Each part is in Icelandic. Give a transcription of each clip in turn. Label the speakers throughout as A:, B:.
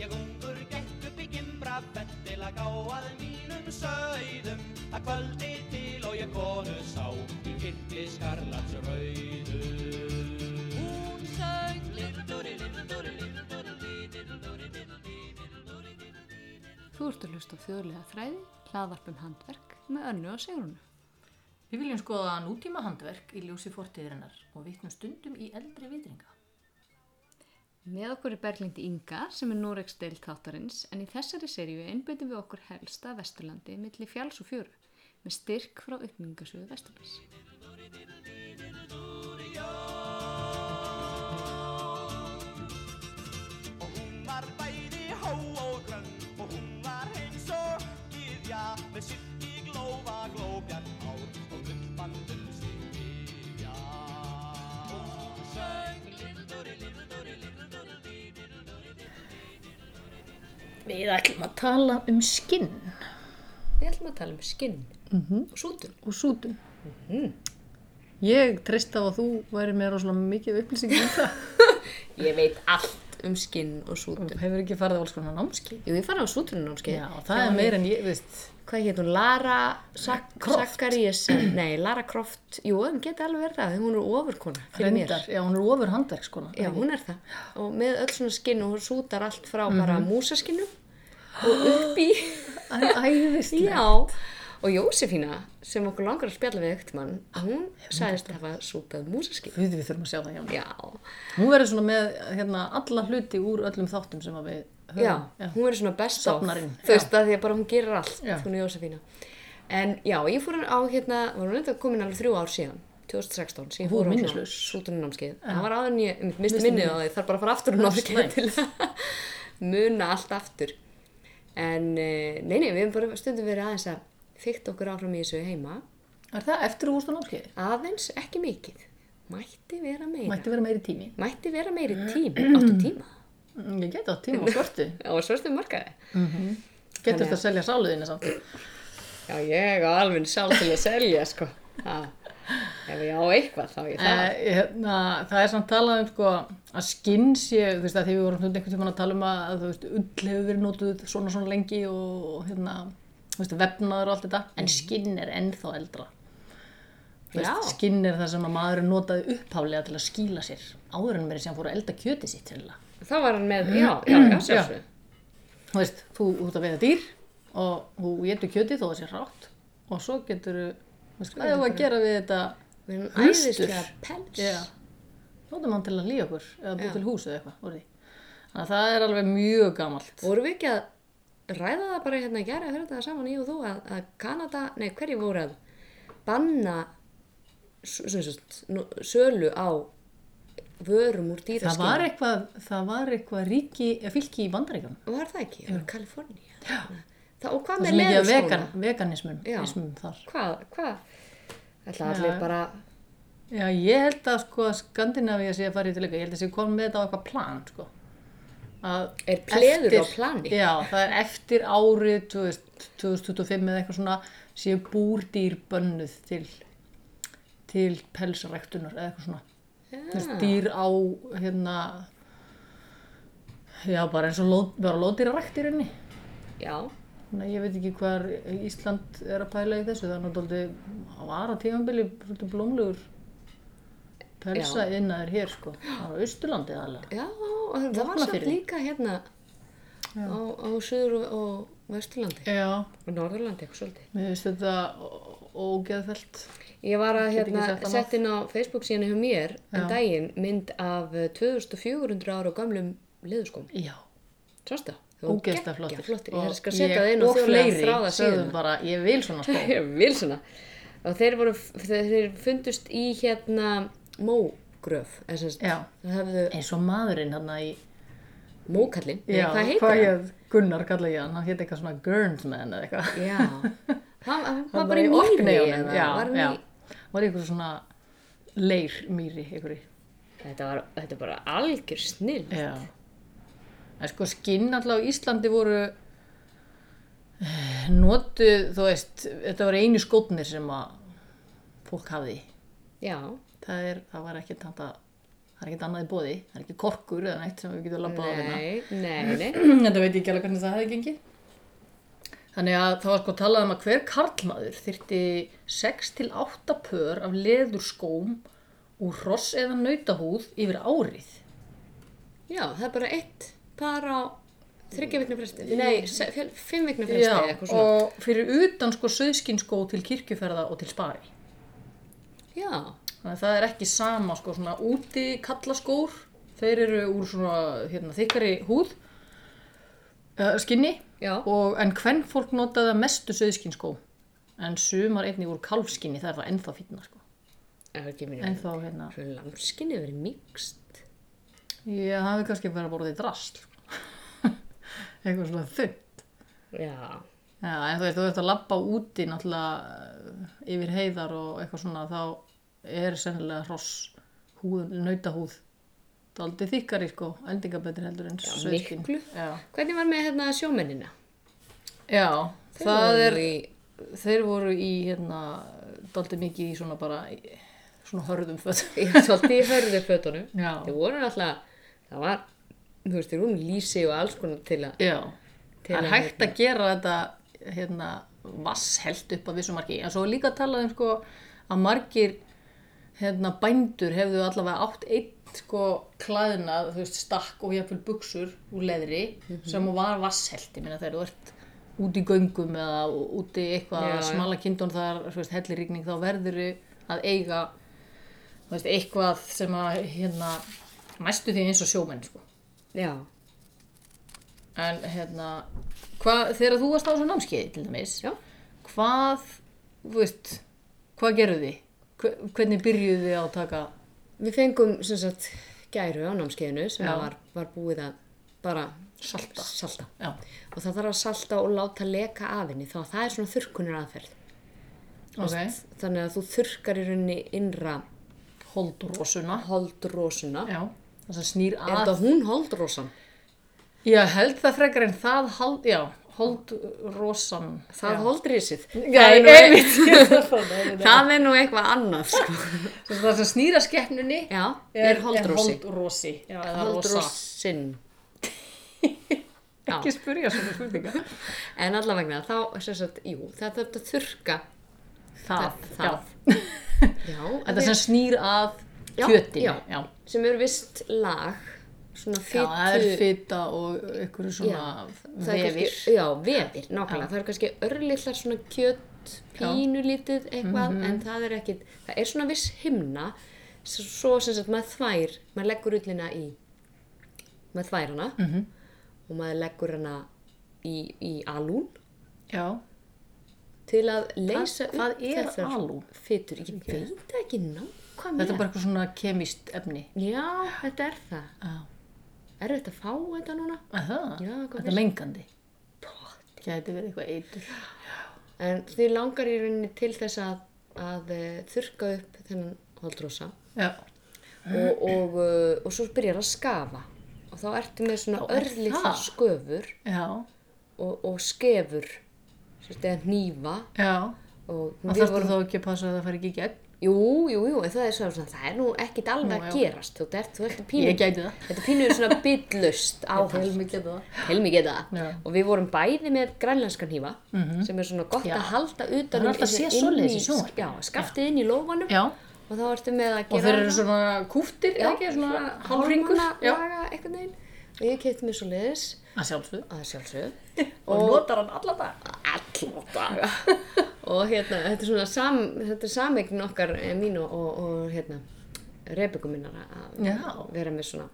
A: Ég ungur gekk upp í gimbra fett til að gá að mínum sögðum að kvöldi til og ég konu sá í kitti skarlats rauðu Hún sög Little Doody, Little Doody, Little Doody, Little Doody, Little Doody, Little Doody, Little Doody
B: Þú ert að hlusta á þjóðlega þræði, hlaðvarpum handverk með önnu og segrunu.
C: Við viljum skoða nútíma handverk í ljósi fortíðirinnar og vitnum stundum í eldri vitringa.
B: Með okkur er Berglind Inga sem er Norex deil þáttarins en í þessari seríu einbyttum við okkur helsta Vesturlandi milli fjáls og fjöru með styrk frá uppmyngasöðu Vesturlands.
A: og hún var bæði hó og grönn og hún var eins og gyðja með sitt í glófa glóbjarn ár og gumbandum sig viðja og hún söng little doody, little doody, little doody, dee, little doody, dee.
C: Við ætlum að tala um skinn.
D: Við ætlum að tala um skinn og sútun.
E: og sútum. Mhm. Ég treyst á að þú væri með rosalega mikið upplýsingum um það.
D: Ég veit allt um skinn og sútun.
E: Þú hefur ekki farið á alls konar námski.
D: Jú, ég farið á sútunum námskeið.
E: Já, það er meira en ég, veist,
D: Hvað hétt hún? Lara Sak
E: Croft.
D: Sakkaríesen? Nei, Lara Croft. Jú, hún geti alveg verið það. Hún er ofurkona fyrir mér.
E: reyndar. Já, hún er ofur sko. handverkskona.
D: Já, hún er það. Og með öll svona skinn og hún sútar allt frá bara
E: Mhm.
D: músaskinnum og upp í...
E: Það er æðislegt.
D: Já, og Jósefína, sem okkur langar að spjalla við ekkert mann, hún sagðist að hafa súpað músaskinn.
E: Við, við þurfum að sjá það hjá mér.
D: Já,
E: Hún verður svona með hérna, alla hluti úr öllum þáttum sem að við höfum.
D: já, hún er svona best of
E: Safnarinn,
D: þú veist að því að bara hún gerir allt
E: Já.
D: hún Jósefína en já, ég fór hann á hérna var hún eitthvað komin alveg þrjú ár síðan 2016, sem ég
E: Þú er
D: fór á
E: minnislaus.
D: sútuninnámskið það var aðan ég einmitt misti minnið á því þarf bara að fara aftur um námskið til að muna allt aftur en eh, nei, nei, við hefum bara stundum verið aðeins að þykta okkur áfram í þessu heima
E: Er það eftir úr hústu námskeiði?
D: aðeins ekki mikið mætti vera meira
E: Mætti vera meiri tími.
D: mætti vera meiri tíma, áttu tíma
E: Mm, Ég geti á tíma á svörtu.
D: og svo stum markaði
E: Getur þetta að selja sáluðinni samt.
D: Já, ég á alveg sjálf til að selja, sko. Ha. Ef ég á eitthvað, þá á ég það.
E: Eh, hérna, það er samt talað um sko, að skinn sé, þú veist að því við vorum svona einhvern tímann að tala um að þú veist, ull hefur verið notuð svona svona lengi og, og hérna, þú veist, vefnaður og allt þetta, en skinn er ennþá eldra. Þú Veist,
D: Já.
E: skinn er það sem að maðurinn notaði upphálega til að skýla sér áður en meiri sem fór að elda kjöti sitt sennilega.
D: Þá var hann með, já, já, já, sjálfsög.
E: Þú veist, þú þú ert að veiða dýr og þú getur kjötið þó það sé rátt og svo getur þú veist, hvað er að gera við þetta
D: Við erum
E: Hlustur.
D: æðislega pels.
E: Já. Nótum hann til að líða okkur eða búið til hús eða eitthvað úr því. Þannig að það er alveg mjög gamalt.
D: Vorum við ekki að ræða það bara hérna í gæri að höra það saman ég og þú að, að Kanada, nei, hverju voru að banna s- sem sagt, nú- sölu á vörum úr
E: Það
D: dýraskinn?
E: var eitthvað, það var eitthvað ríki, eða fylki í bandaríkjum.
D: Var það ekki? Það var Kalifornía. Já. Það, og hvað
E: Það
D: með
E: sem ekki að
D: leðurskóna?
E: vegan, veganismum
D: Já.
E: ismum þar.
D: Hvað, hvað? Ætla allir bara,
E: Já, ég held að sko að Skandinavíu sé að fara í til eitthvað. Ég held að sé komin með þetta á eitthvað plan, sko. Að
D: Er pleður á
E: eftir-
D: plani?
E: Já, það er eftir árið 2000 2025 eða eitthvað svona séu búrdýr bönnuð til, til pelsræktunar eða eitthvað svona. Þú veist, dýr á, hérna, já, bara eins og lóð, bara lóðdýrarækt í rauninni.
D: já.
E: Þannig að ég veit ekki hvar Ísland er að pæla í þessu, þannig að það var á tímanbili svolítið blómlegur pelsa innaður hér sko, á Austurlandi aðalega.
D: Já, og það var samt
E: Vopnafirði.
D: líka hérna á, á Suður og, og Vesturlandi
E: Já,
D: og Norðurlandi eitthvað svolítið.
E: mér finnst þetta ó- ógeðfellt.
D: Ég var að
E: Get ekki
D: hérna,
E: sagt annað.
D: sett inn á Facebook síðan hjá mér um daginn mynd af eh, 2400 ára gamlum leðurskóm.
E: Já,
D: Sástu það? Það var
E: ógeðslega
D: geggjað flottir. Ég
E: flottir. Og
D: er að setja það inn á
E: og
D: þjóðlega
E: fleiri
D: þráða
E: sögðu
D: síðan.
E: bara, ég vil svona sko.
D: Ég vil svona. Og þeir, voru, þeir fundust í hérna mógröf. eða sem sagt,
E: Já.
D: Það hefðu
E: Eins og maðurinn hann í,
D: mókallin. Nei, hvað heitir
E: hvað
D: það?
E: ég, Gunnar kalla ég hann, hann hétt eitthvað svona Gurnsman eða eitthvað.
D: Já, hann, hann var
E: Hann
D: bara í mýri
E: Orkneyjunum, já,
D: var hann
E: já.
D: í
E: Var í eitthvað svona leir mýri, eitthvað
D: Þetta var, þetta er bara algjör snill.
E: Já. En sko skinn alltaf á Íslandi voru eh, notuð, þú veist, þetta voru einu skótnir sem að fólk hafði.
D: Já,
E: Það, er, það var ekki tanta, það það er ekkert annað í bóði, það er ekki korkur eða neitt sem við getum labbað á hérna
D: Nei, nei, nei.
E: þetta veit ég ekki alveg hvernig það hefði gengið þannig að það var sko talað um að hver karlmaður þyrti 6-8 pör af leðurskóm úr hross eða nautahúð yfir árið
D: Já, það er bara eitt par á þryggja vikna fresti. Nei, se- fjö- fimm vikna fresti
E: Já,
D: eða eitthvað svona.
E: og fyrir utan sko söðskinskó til kirkjuferða og til spari
D: Já,
E: þannig að það er ekki sama sko svona úti kallaskór þeir eru úr svona hérna, þykkari húð uh, skinni
D: já.
E: og en hvern fólk notaði að mestu söðskinskó en sumar einnig úr kalfskinni það er það ennþá fýtna sko
D: Það er ekki mínu. En
E: ennþá hérna
D: það er lamskinni verið mikst.
E: já það hefur kannski verið að borða í drast sko. eitthvað svona þunn
D: Já.
E: Já, en þú veist, þú ert að labba úti náttúrulega eh, yfir heiðar og eitthvað svona, þá er sennilega hross húð, nautahúð daldið þykkari sko, endingabetri heldur en sveitkin.
D: miklu.
E: Já,
D: Hvernig var með hérna sjómennina?
E: Já það
D: voru
E: er, þeir voru í hérna, daldið mikið í svona bara, í- svona hörðum föt.
D: Ég er svolítið í hörðu fötunum.
E: Já,
D: Þeir voru náttúrulega, það var, þú veist, þeir voru með lýsi og alls konar til að...
E: já.
D: Til
E: Það er
D: að hérna-
E: hægt að gera þetta hérna, vasshelt upp að vissu marki. En svo er líka að tala um sko, að margir hérna, bændur hefðu allavega átt einn sko, klæðnað, þú veist, stakk og jafnvel buksur úr leðri
D: Mhm.
E: sem var vasshelt. Ég meina þegar þú ert úti í göngum eða úti í eitthvað
D: Já, já.
E: smala kindun þar, þú veist, hellirigning, þá verður að eiga þú veist, eitthvað sem að hérna, mæstu því eins og sjómenn sko.
D: Já.
E: En hérna, hva, þegar þú varst á þessu námskeiði til dæmis,
D: Já.
E: hvað, þú veist, hvað gerðu þið? Hve- Hvernig byrjuðu þið á að taka?
D: Við fengum, sem sagt, gæru á námskeiðinu sem
E: Já.
D: var, var búið að bara...
E: Salta.
D: Salta.
E: Já,
D: Og það þarf að salta og láta leka af henni, þá það er svona þurrkunar aðferð.
E: ok.
D: þannig að þú þurkar í rauninni innra
E: Holdrósuna.
D: holdrósuna
E: Já, það sem snýr
D: er
E: að.
D: þetta hún holdrósan?
E: Já, held það frekar en það, hold, já, holdrósan.
D: það
E: já.
D: holdrísið
E: Já,
D: það, er nú
E: ég
D: ein-
E: veit. Ég þarf að það er-
D: það er nú eitthvað annað sko.
E: Það sem snýr að skeppnunni
D: já, er holdrósi
E: Er holdrósi. Já, eða rosa.
D: holdrósin Já.
E: Ekki spyrja svona spurninga.
D: en allavegna þá sem sagt, jú, það þarf að þurka
E: Það,
D: það.
E: já.
D: já,
E: Þetta sem snýr að
D: Já,
E: kjötinu.
D: já. sem er vist lag svona
E: Já, það er
D: fytu
E: fita og einhverju svona
D: það er
E: vefir.
D: kannski, já, vefir, nákvæmlega það er kannski örlitlar svona kjött pínulítið eitthvað,
E: Mhm.
D: en það er ekkit það er svona viss himna s- svo sem sagt maður þvær maður leggur ullina í maður þvær hana
E: Mhm.
D: -hmm. og maður leggur hana í, í alún
E: Já,
D: til að leysa
E: hvað er alún?
D: fytur, ég veit það ekki nákvæmlega
E: þetta er bara eitthvað svona kemist efni.
D: já, þetta er það
E: Já.
D: er þetta að fá þetta núna?
E: Er það?
D: Já, hvað
E: þetta er mengandi. Gæti verið eitthvað eitur.
D: En því langar í rauninni til þess að, að eh, þurrka upp þennan holdrosa
E: Já.
D: og, og, eh, og svo byrjar að skafa og þá ertu með svona
E: Já, er
D: örlitlar
E: það?
D: sköfur
E: Já.
D: og, og skefur sérst eða hnífa
E: Já.
D: og
E: Og
D: við
E: þarftu
D: vorum,
E: þá ekki að passa að það fari ekki í gegn?
D: jú, jú, jú, en það er svona, svona það er nú ekkit alveg að gerast þú ert, þú ert pínu,
E: Ég gæti það.
D: þetta er pínu svona byllust áhald,
E: mig geta það.
D: helmi geta það
E: Já. Mhm.
D: og við vorum bæði með grænlenskan hífa sem er svona gott
E: Já.
D: að halda utan
E: Það er alltaf
D: þessi
E: séð
D: inn
E: svoleiðis
D: í-
E: í sjónvarpinu.
D: já, skaftið inn í lófanum
E: Já.
D: og þá ertu með að
E: Og
D: gera
E: þeir eru svona kúftir,
D: Já,
E: eða ekki? Svona
D: svona
E: hálfringur.
D: hálfmánalaga
E: Já.
D: einhvern veginn og ég kefti mér svo leiðis
E: Það sjálfsögðu.
D: að sjálfsög
E: Og notar hann alla dag.
D: allan daga og hérna, þetta er svona sam, þetta er sameign okkar eh, mín og, og, og hérna Rebekku minnar að
E: Já.
D: vera með svona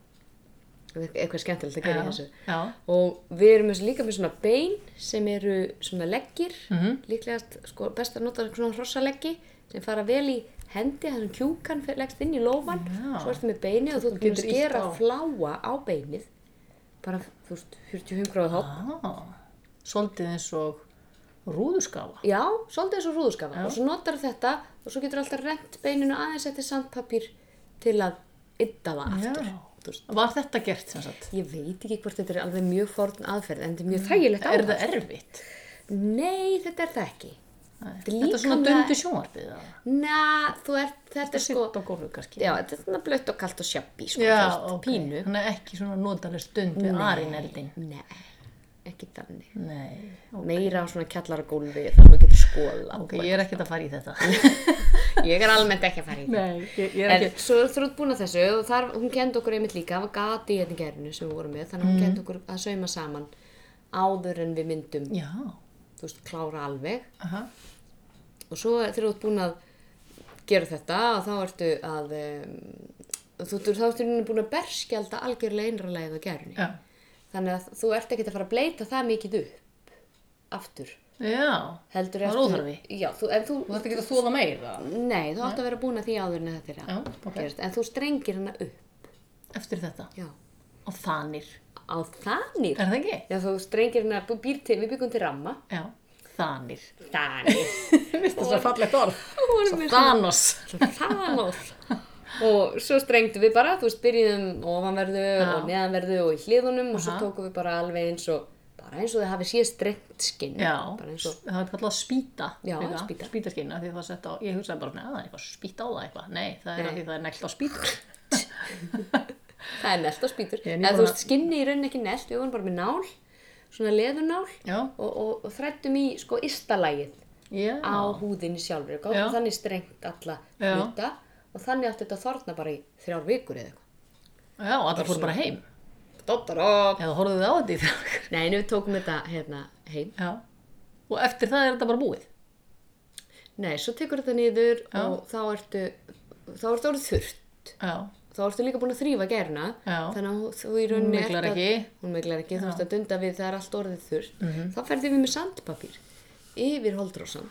D: eitthvað skemmtilegt að gera í þessu
E: Já.
D: og við erum með- líka með svona bein sem eru svona leggir
E: Mhm.
D: líklegast, sko, best að nota svona hrossaleggi sem fara vel í hendi þar sem kjúkan fer- leggst inn í lófan
E: Já.
D: svo ertu með beinið og þú ert búin að
E: getur ýtt
D: skera
E: á.
D: fláa á beinið bara, þú veist, 45 gráð hótt
E: Ah. Svolítið eins og rúðuskafa.
D: já, svolítið eins og rúðuskafa
E: Já.
D: og svo notar þetta og svo getur alltaf rent beininu aðeins eftir sandpapír til að ytta það aftur þú veist,
E: Var þetta gert sem sagt?
D: ég veit ekki hvort þetta er alveg mjög forn aðferð en þetta er mjög þægilegt
E: Mm, Er
D: áhald
E: það erfitt?
D: Nei, þetta er það ekki. Þetta er
E: Þetta er svona
D: líkamlega-
E: döndu sjónvarpið eða?
D: Næ, þú ert, þetta er sko,
E: Sitt á gólfu kannski.
D: já, þetta er svona blött og kalt og sjabbi, sko, þú veist,
E: ok.
D: pínu.
E: Þannig að ekki svona notalega stund við arineldin.
D: Nei, ekki þannig.
E: Nei.
D: Meira á svona kjallaragólfi þar maður getur skoða.
E: Ok, ég er ekkert að fara í þetta.
D: Ég er almennt ekki að fara í þetta.
E: Nei, ég, ég
D: En svo þú ert búin að þessu og þar, hún kendi okkur einmitt líka, það var gati í hérna í gerinu sem við vorum með, þannig að
E: Mm.
D: hún kendi okkur að sauma saman áður en við myndum,
E: Já.
D: þú veist, klára alveg.
E: Aha.
D: og svo þegar þú ert búin að gera þetta og þá ertu að um, þú, þú, þá ertu í rauninni búin að berskjálta algjörlega einralegið á gerunni
E: Já.
D: þannig að þú ert ekkert að fara að bleita það mikið upp aftur
E: Já.
D: heldur
E: Það er
D: ertu-
E: óþarfi.
D: já, þú, en þú,
E: Þú þarf ekki að þóða meira.
D: nei, þú átt að vera búin að því áður en þetta er
E: Já,
D: að
E: ok.
D: gerast en þú strengir hana upp
E: Eftir þetta.
D: já.
E: Og þanir.
D: á þanir
E: Er það ekki?
D: já, þú strengir hana, þú býr til, við byggum til ramma
E: Já. Þanir.
D: þanir
E: Vist það svo fallegt orð.
D: Svo
E: Thanos.
D: Thanos og svo strengtum við bara, þú veist, byrjuðum ofanverðu og neðanverðu og í hliðunum og svo tókum við bara alveg eins og bara eins og þið hafi séð strengt skinn
E: Já.
D: bara eins og
E: Það er kallað spýta.
D: Já,
E: líka.
D: spýta.
E: Spýtaskinn, af því það er sett á, ég hugsaði bara, neða, það er eitthvað spýta á það eitthvað. Nei, það er
D: Nei.
E: af því það er neglt á spýta.
D: það er nelt á spýtur
E: Ég er
D: en
E: nýbúin
D: þú
E: að-
D: veist, skinni í rauninni ekki nelt, við vorum bara með nál svona leðunál
E: Já.
D: og, og, og þrættum í sko ystalægið
E: Já.
D: á húðinni sjálfur og
E: Já.
D: gáðum þannig strengt alla
E: Já.
D: hluta og þannig átti þetta að þorna bara í þrjár vikur eða eitthvað
E: Já, og allir fóru bara heim.
D: Dottarop.
E: Eða horfðu þið á þetta í þrjókar.
D: Nei, en við tókum þetta hérna heim
E: Já. Og eftir það er þetta bara búið.
D: Nei, svo tekur þetta niður og þá ertu, þá ertu orðið þurrt.
E: Já.
D: Þá ertu líka búin að þrýfa gerna.
E: Já.
D: Þannig að þú í rauninni...
E: Hún myglar
D: ert að-
E: ekki. Mhm.
D: Hún meglar ekki, þú veist að dunda við það er allt orðið þurrt. Þá ferði við með sandpapír yfir holdrósan.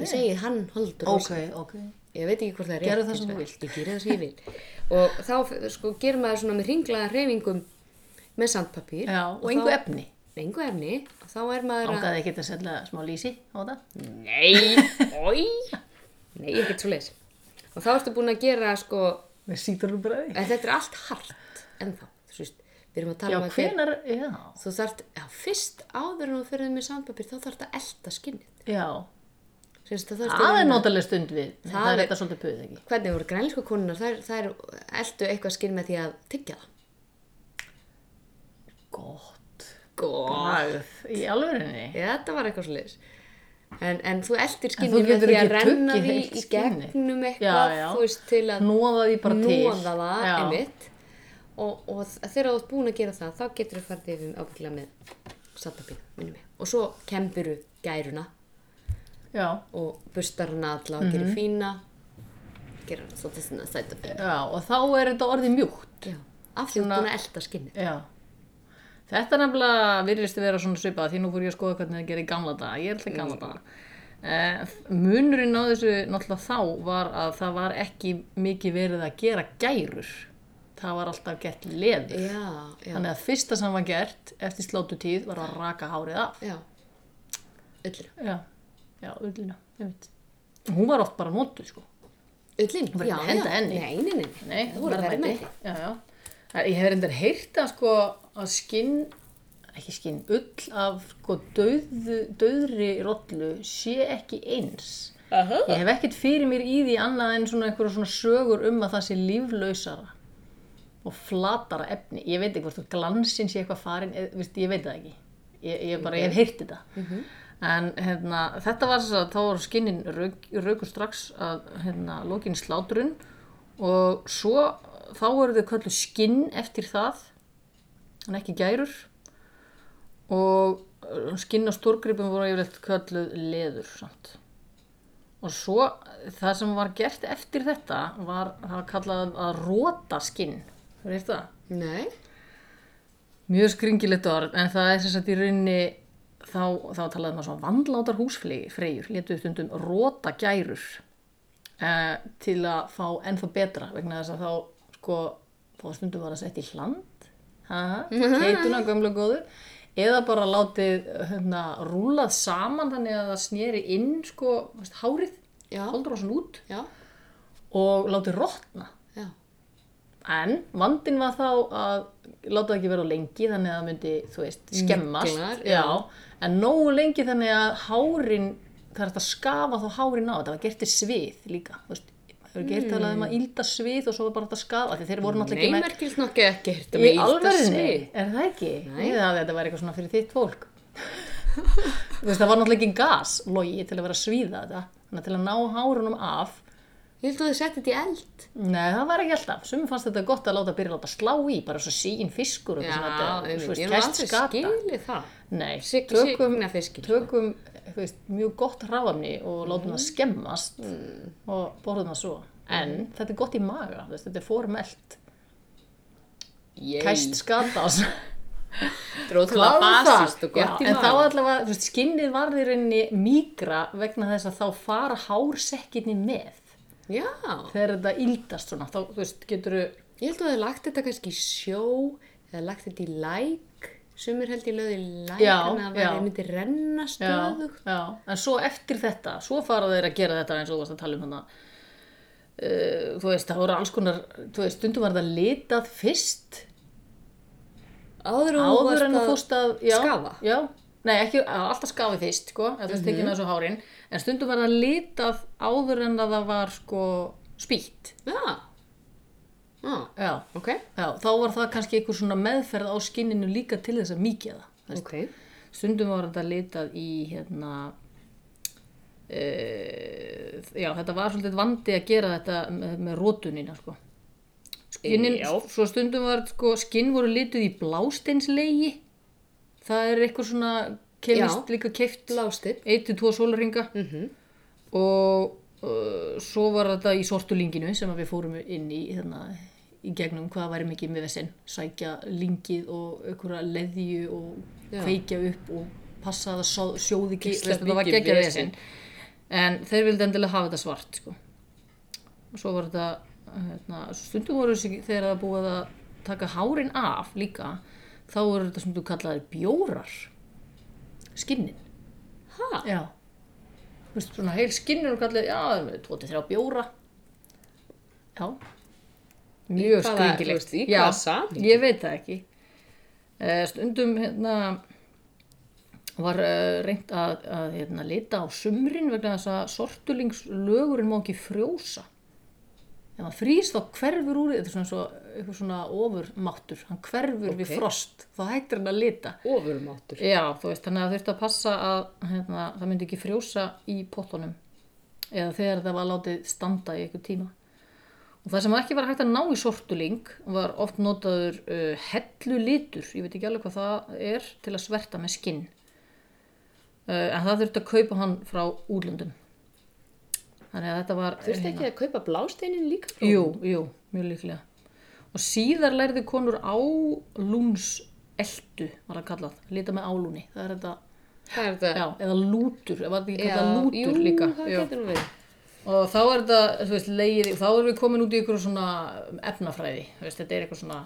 D: Ég segi hann holdrósan.
E: ok.
D: Ég veit ekki hvort það er rétt.
E: Gerðu það
D: hins
E: sem þú
D: vegar. Ég gerði það sem ég vil. Og þá f- sko, gerir maður svona með ringlaða reyfingum með sandpapír.
E: Já, og engu efni.
D: Engu efni. Og þá er maður að...
E: Ángæði ekki að selja smá lísi á það.
D: Nei, oi Nei, ekkert svo leis Og þá ertu búin að gera sko
E: Með síturum bræði.
D: en Þetta er allt hart ennþá Þú veist, við erum að tala
E: Já,
D: um að gera
E: hvenar, já.
D: Þú þarft, já, fyrst áður en þú fyrir með sandpapir þá þarft að elta skinnið
E: Já.
D: Sérst, það þarft
E: Það
D: að
E: er notalega stund við. Það,
D: er-
E: er þetta svolítið puð, ekki?
D: Hvernig voru grænlísku konunar, þær, þær eltu eitthvað skinn með því að tyggja það
E: Gott.
D: Góð
E: Bragð. Í alvörinni.
D: Já, þetta var eitthvað svo leis en, en þú eltir
E: þú
D: skinnið með
E: getur
D: því að
E: ekki
D: renna
E: tuggið
D: því
E: heilt
D: í
E: skinnið.
D: gegnum
E: Já,
D: eitthvað
E: já.
D: Þú veist, til að
E: Nóða því bara til.
D: nóða um það
E: Já.
D: einmitt og, og þ- þegar þú ert búin að gera það þá getur þú farið yfir ábyggla með sattapín og svo kemburu gæruna
E: Já.
D: og bustar hana alla og
E: Mhm.
D: gerir fína gerir hana svolítið svona sætapín
E: Já, og þá er þetta orðið mjúkt.
D: já, af því þú ert búin að elda skinnið
E: Já. Þetta nefnilega virðist að vera svona svipað því nú fór ég að skoða hvernig það gerir í gamla daga. Ég er alltaf í gamla daga. Uh, munurinn á þessu náttúrulega þá var að það var ekki mikið verið að gera gærur. Það var alltaf gert leður.
D: já, já,
E: Þannig að fyrsta sem var gert eftir slótutíð var að raka hárið af.
D: já Ullin,
E: Já, já, ullina, ég veit. Hún var oft bara notuð sko.
D: Ullin,
E: Þú verður
D: já,
E: að
D: já,
E: henda henni.
D: nei, nei, nei,
E: Nei,
D: þú voru verið með
E: Já, já. Það- Ég hef reyndar heyrt að sko að skinn, ekki skinn, ull af sko döðu, döðri rollu sé ekki eins.
D: Aha.
E: Ég hef ekkert fyrir mér í því annað en svona einhverja svona sögur um að það sé líflausara og flatara efni. Ég veit ekki hvort þú glansinn sé eitthvað farin, eð, veist, ég veit það ekki. Ég, ég bara, ég hef heyrt þetta. En hérna, þetta var þess að þá voru skinnin rauk- rauku strax að hérna, lokin slátrun og svo þá voru þau köllu skinn eftir það, en ekki gærur og uh, skinn á stórgripum voru yfirleitt kölluð leður samt. Og svo það sem var gert eftir þetta var það var kallað að róta skinn. Þú veist það?
D: Nei,
E: Mjög skringilegt orð en það er sem sagt í rauninni þá, þá talaði maður svona vandlátar húsfreyjur, letuðu stundum róta gærur eh, til að fá ennþá betra vegna þess að þá sko þá stundum var að setja í hland ha, keituna gömlu góðu eða bara látið hérna, rúlað saman þannig að það sneri inn sko þú veist, hárið,
D: Já.
E: holdur á svona út
D: já,
E: og látið rotna
D: já
E: En vandin var þá að láta það ekki vera of lengi þannig að það myndi, þú veist, skemmast.
D: Myglar, já.
E: já. En nógu lengi þannig að hárin það er hægt að skafa þá hárin á þetta var gert í svið líka þú veist, það er gert talað um að ylda svið og svo var bara hægt að skafa af því þeir voru náttúrulega
D: Nei,
E: ekki með
D: merkilt nokkuð ekki hirt um
E: Í alverðinni? Er það ekki? Nei. Ég hafði að þetta væri eitthvað svona fyrir þitt fólk. Þú veist, það var náttúrulega ekki gas, logi, til að vera að svíða þetta. Þannig að til að ná hárunum af,
D: Ég held að þið setti þetta í eld.
E: nei, það var ekki alltaf. Sumi fannst þetta gott að láta byrja að láta slá í, bara svo sín fiskur og
D: Já,
E: eitthvað þetta,
D: einmitt.
E: þú veist,
D: ég hef nú
E: kæst
D: aldrei
E: skata.
D: skilið það.
E: Nei,
D: Sig-
E: tökum,
D: signa fiskinn, sko.
E: tökum þú veist, mjög gott ráfni og látum
D: Mhm.
E: það skemmast
D: Mm.
E: og borðum það svo. En þetta er gott í maga, þú veist, þetta er formelt.
D: Ég
E: Kæst skata á svo.
D: dróð til að basist og sko, gott
E: já, en þá allavega, þú veist, skinnið varð í rauninni mýgra vegna þess að þá fara hársekkinni með
D: Já,
E: þegar þetta íldast svona, þá, þú veist, getur
D: ég held að þið lagt þetta kannski í sjó eða lagt þetta í læk. Sumir held ég lögði í læk
E: Já,
D: en það
E: já.
D: væri myndi renna
E: já,
D: stöðugt.
E: já, en svo eftir þetta svo fara þeir að gera þetta eins og þú varst að tala um hana uh, þú veist, það voru alls konar þú veist, stundum var það litað fyrst
D: Áður, en þú varst
E: áður en þú
D: að-
E: fórst að já,
D: skafa? Mhm.
E: já, nei, ekki, að- alltaf skafi fyrst sko, að þú veist ekki með þessu hárin en stundum var það litað áður en að það var sko spýtt
D: Já. Já,
E: já,
D: ok.
E: Já, þá var það kannski einhver svona meðferð á skinninu líka til þess að mýkja það. þú veist.
D: Ok.
E: Stundum var þetta litað í hérna, uh, já þetta var svolítið vandi að gera þetta með, með rótunina sko. Skinnin, svo stundum var sko, skinn voru lituð í blásteinslegi, það er eitthvað svona kemist líka keift
D: Blástinn.
E: 1-2 sólaringa
D: Mhm.
E: og uh, svo var þetta í sortulinginu sem að við fórum inn í hérna, í gegnum hvað væri mikið með vesinn sækja lingið og einhverja leðju og
D: Já.
E: kveikja upp og passa að það só- sjóði ekki
D: Gísla
E: þetta var
D: mikið
E: geggjað
D: vesen.
E: vesinn en þeir vildi endilega hafa þetta svart sko. og svo var þetta hérna, stundum voru þessi þegar það búið að taka hárin af líka þá voru þetta sem þú kallaðir bjórar skinnin
D: Ha?
E: Já. Þú veist, svona heil skinnur og kallið, já, um, það er með 23 bjóra. Já.
D: hvaða-
E: Mjög
D: þú
E: skringilegt.
D: veist, í
E: Já,
D: hvaða samhengi?
E: Ég veit það ekki. Eh, Stundum, hérna, var eh, reynt að, að hérna, lita á sumrin vegna þess að sortulingslögurinn má ekki frjósa. Ef hann frýs þá hverfur úr, þetta er svona, svo, eitthvað svona ofurmáttur, hann hverfur við
D: Ok.
E: frost, þá hættir hann að lita.
D: Ofurmáttur.
E: Já, þú veist, þannig að þurfti að passa að hérna, það myndi ekki frjósa í pottunum eða þegar það var látið standa í einhver tíma. Og það sem ekki var hægt að ná í sortuling var oft notaður uh, hellulitur, ég veit ekki alveg hvað það er, til að sverta með skinn. Uh, en það þurfti að kaupa hann frá útlöndum. Þannig að þetta var... eh,
D: Þurfti ekki að kaupa blásteinin líka? frá-
E: Jú, jú, mjög líklega. Og síðar lærði konur álúnseldu, var það kallað, lita með álúni. Það er þetta,
D: Það er þetta.
E: já, eða lútur, var þetta ekki kallað
D: jú,
E: lútur líka.
D: það
E: Jú.
D: getur nú verið.
E: Og þá er þetta, þú veist, leið, þá erum við komin út í ykkur svona efnafræði, þú veist, þetta er eitthvað svona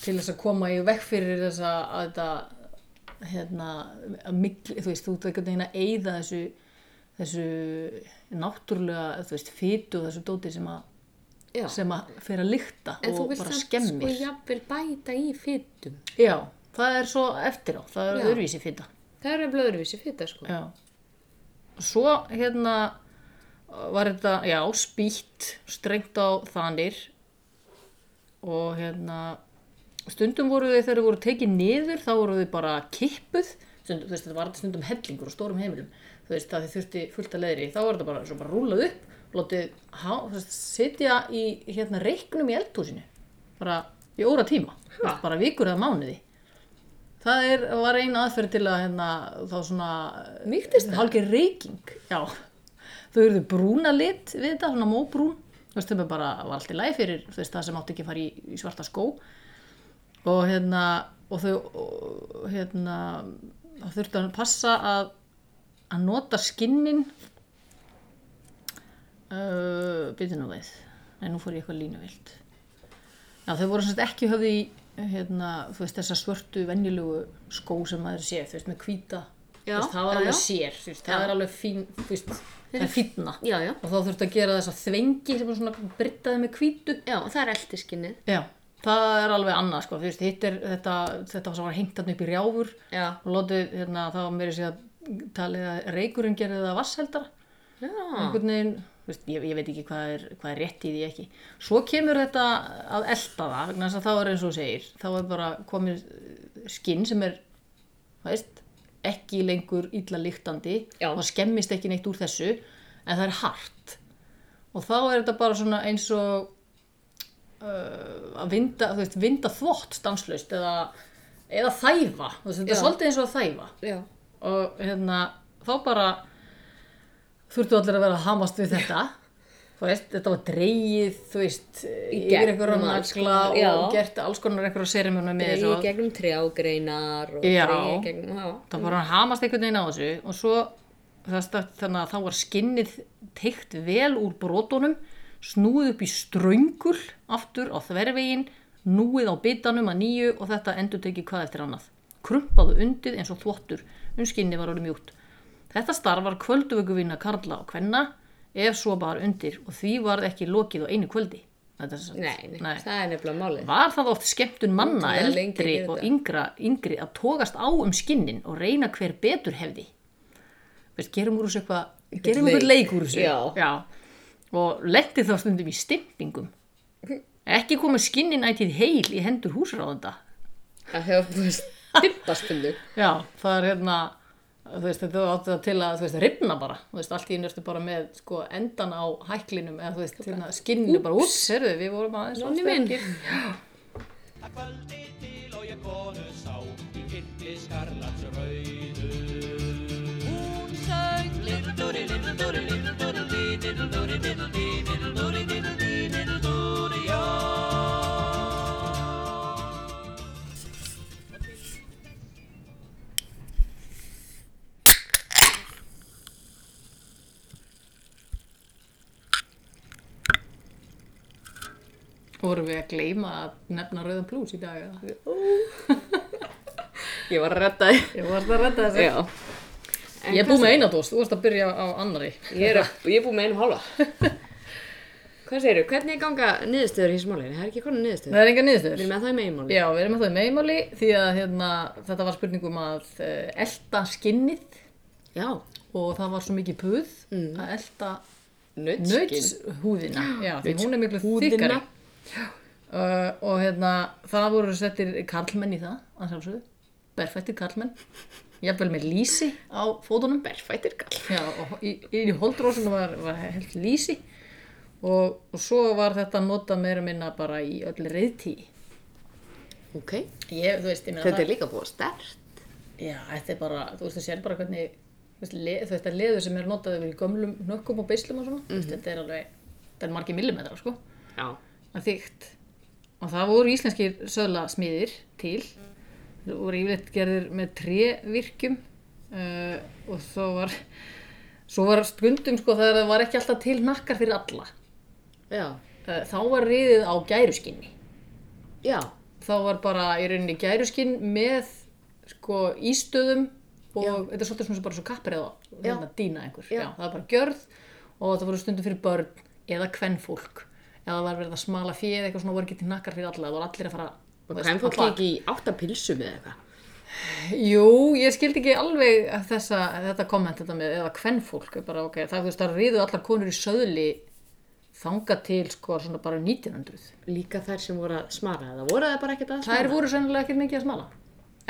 E: til þess að koma í vekk fyrir þess að að þetta hérna, að mikli, þú veist, þú ert einhvern veginn að eyða þessu, þessu náttúrulega, þú veist, fytu og þessu dóti sem að
D: Já.
E: sem að fer að lykta
D: En þú
E: og
D: vilt
E: bara
D: samt
E: skemmir.
D: sko jafnvel bæta í fytum.
E: Já, það er svo eftir á, það er
D: Já.
E: öðruvísi fita.
D: Það er nefnilega öðruvísi fyta sko.
E: Já. Svo hérna var þetta, já, spýtt, strengt á þanir og hérna stundum voru þau þegar þau voru tekið niður þá voru þau bara kippuð stundum, þú veist þetta var þetta stundum hellingur og stórum heimilum þú veist að þau þurfti fullt að leðri þá var þetta bara, svo bara rúlað upp látið, há, þú veist, sitja í hérna reiknum í eldhúsinu bara í óra tíma þú veist, bara vikur eða mánuði það er, var ein aðferð til að hérna, þá svona
D: Mýktist það?
E: hálfgeir reyking, já þau eru brúna lit við þetta, svona móbrún þú veist, þau bara var allt í læg fyrir þú veist, það sem átti ekki að fara í, í svarta skó og hérna og þau og, hérna þá þurftu að passa að að nota skinnin uh, byrju nú við en nú fór ég eitthvað línuvilt já þau voru svolítið ekki höfði í hérna, þú veist þessa svörtu venjulegu skó sem maður sé, þú veist með hvíta
D: Já,
E: þú veist, það var
D: já,
E: alveg
D: já.
E: sér, þú veist, það er alveg fín þú veist, það er fínna
D: Já, já.
E: og þá þurftu að gera þessa þvengi sem er svona brittaði með hvítu
D: Já, það er eldiskinnið.
E: já, það er alveg annað sko, þú veist, hitt er þetta, þetta sem var hengt hann upp í rjáfur
D: Já.
E: og lótið, hérna, það var meiri sér að talið að reykurinn gerði það vassheldara
D: Já,
E: einhvern veginn, þú veist, ég, ég veit ekki hvað er, hvað er rétt í því ekki svo kemur þetta að elta það vegna þess að þá er eins og þú segir þá er bara komið skinn sem er þú veist, ekki lengur illa líktandi
D: Já.
E: og það skemmist ekki neitt úr þessu en það er hart og þá er þetta bara svona eins og uh, að vinda, þú veist, vinda þvott stanslaust eða, eða þæfa, þú veist, þetta er
D: Já.
E: svolítið eins og að þæfa
D: já,
E: og hérna þá bara þurftu allir að vera að hamast við þetta þú veist, þetta var dreigið þú veist, yfir
D: gegn
E: einhverja
D: um alls
E: nagla
D: konar, já.
E: og gert alls konar einhverja serimjónu með
D: dreigir
E: þessu
D: gegnum trjágreinar og
E: Já.
D: dreigir gegnum, já,
E: þá bara hann hamast einhvern veginn á þessu og svo þess, þannig að þá var skinnið teikt vel úr brotunum snúið upp í ströngul aftur á þvervegin núið á bitanum að nýju og þetta endur tekið hvað eftir annað krumpaðu undið eins og þvottur um skinnið var orðið mjúkt þetta starf var kvölduvökuvinna karla og kvenna ef svo bara undir og því varð ekki lokið á einu kvöldi Þetta er sem sagt-
D: nei, nei, það er nefnilega málið.
E: Var það oft skemmtun manna
D: Ótrúlega lengi að
E: eldri
D: gera
E: og
D: þetta.
E: yngra, yngri að tókast á um skinnin og reyna hver betur hefði? Veist, gerum úr þessu eitthvað, gerum
D: leik.
E: eitthvað leik úr þessu.
D: Já.
E: Og lendi þá stundum í stimpingum. Ekki komu skinnin ætið heil í hendur húsráðanda.
D: Það hefur búið stippastundu.
E: Já, það er hérna, þú veist, þetta átti það til að, þú veist, ripna bara. Þú veist, allt í einu ertu bara með, sko, endan á hæklinum eða, þú veist, hérna, skinninu bara, úps, herðu, við vorum aðeins of
D: Nonni minn.
E: sterkir.
A: Að kvöldi til og ég konu sá Í kitli skarlats rauðu Hún söng Liddúri, liddúri, liddúri Liddúri, liddúri, liddúri Liddúri, liddúri, já
E: Vorum við að gleyma að nefna Rauðan Plús í dag eða?
D: Ég var að redda þið.
E: Ég varst að redda þessu.
D: Já.
E: Ég er búið með eina dós, þú varst að byrja á annari.
D: Ég er, að- ég er búið með einu hálfa. Hvað segirðu, hvernig ganga niðurstöður í þessu máli? Það er ekki konar
E: Það
D: niðurstöður.
E: er enga
D: Við
E: niðurstöður.
D: erum með það í meginmáli.
E: Já, við erum með það í meginmáli því að hérna, þetta var spurningum að uh, elda skinnið
D: Já.
E: og það var svo mikið puð að elda
D: Nötskinn.
E: nötshúðina. Já, því hún er miklu
D: Húðina.
E: þykkari. Uh, og hérna, það voru settir karlmenn í það, að sjálfsögðu. Berfættir karlmenn. Jafnvel með lýsi á fótunum. Berfættir karlmenn. Já, og í, í holdrósinu var, var held lýsi. Og, og svo var þetta notað meira og minna bara í öll reyðtí.
D: Ok.
E: Ég, þú veist, ég meina
D: Þetta
E: það.
D: er líka búið stert.
E: Já, þetta er bara, þú veist, þú sér bara hvernig, þú veist, le, þetta leður sem er notað yfir í gömlum nökkum og beislum og svona. Mm
D: Mhm.
E: veist, þetta er alveg, þetta er margir millimetrar, sko.
D: Já.
E: að þygt og það voru íslenskir söðlasmiðir til Þeir voru yfirleitt gerðir með trévirkjum uh, og svo var svo var stundum sko þegar það var ekki alltaf til nakkar fyrir alla
D: Já.
E: uh, þá var riðið á gæruskinni
D: Já.
E: þá var bara í rauninni gæruskinn með sko ístöðum og þetta er svolítið svona bara svo kappriða hérna dýna einhver, já. það var bara gjörð og það voru stundum fyrir börn eða kvennfólk, eða það var verið að smala fé eða eitthvað svona voru ekki til nakkar fyrir alla það voru allir að fara þú
D: Og
E: veist,
D: hvað er fólk
E: alla-
D: ekki í átta pilsum eða eitthvað?
E: Jú, ég skildi ekki alveg að þessa, að þetta komment þetta með eða kvennfólk, ég bara ok, það, þú veist, það ríðu allar konur í söðli þanga til sko svona bara 1900
D: Líka þær sem voru að smara eða voru það bara ekkert að smara?
E: Þær voru sennilega ekkert mikið að smala.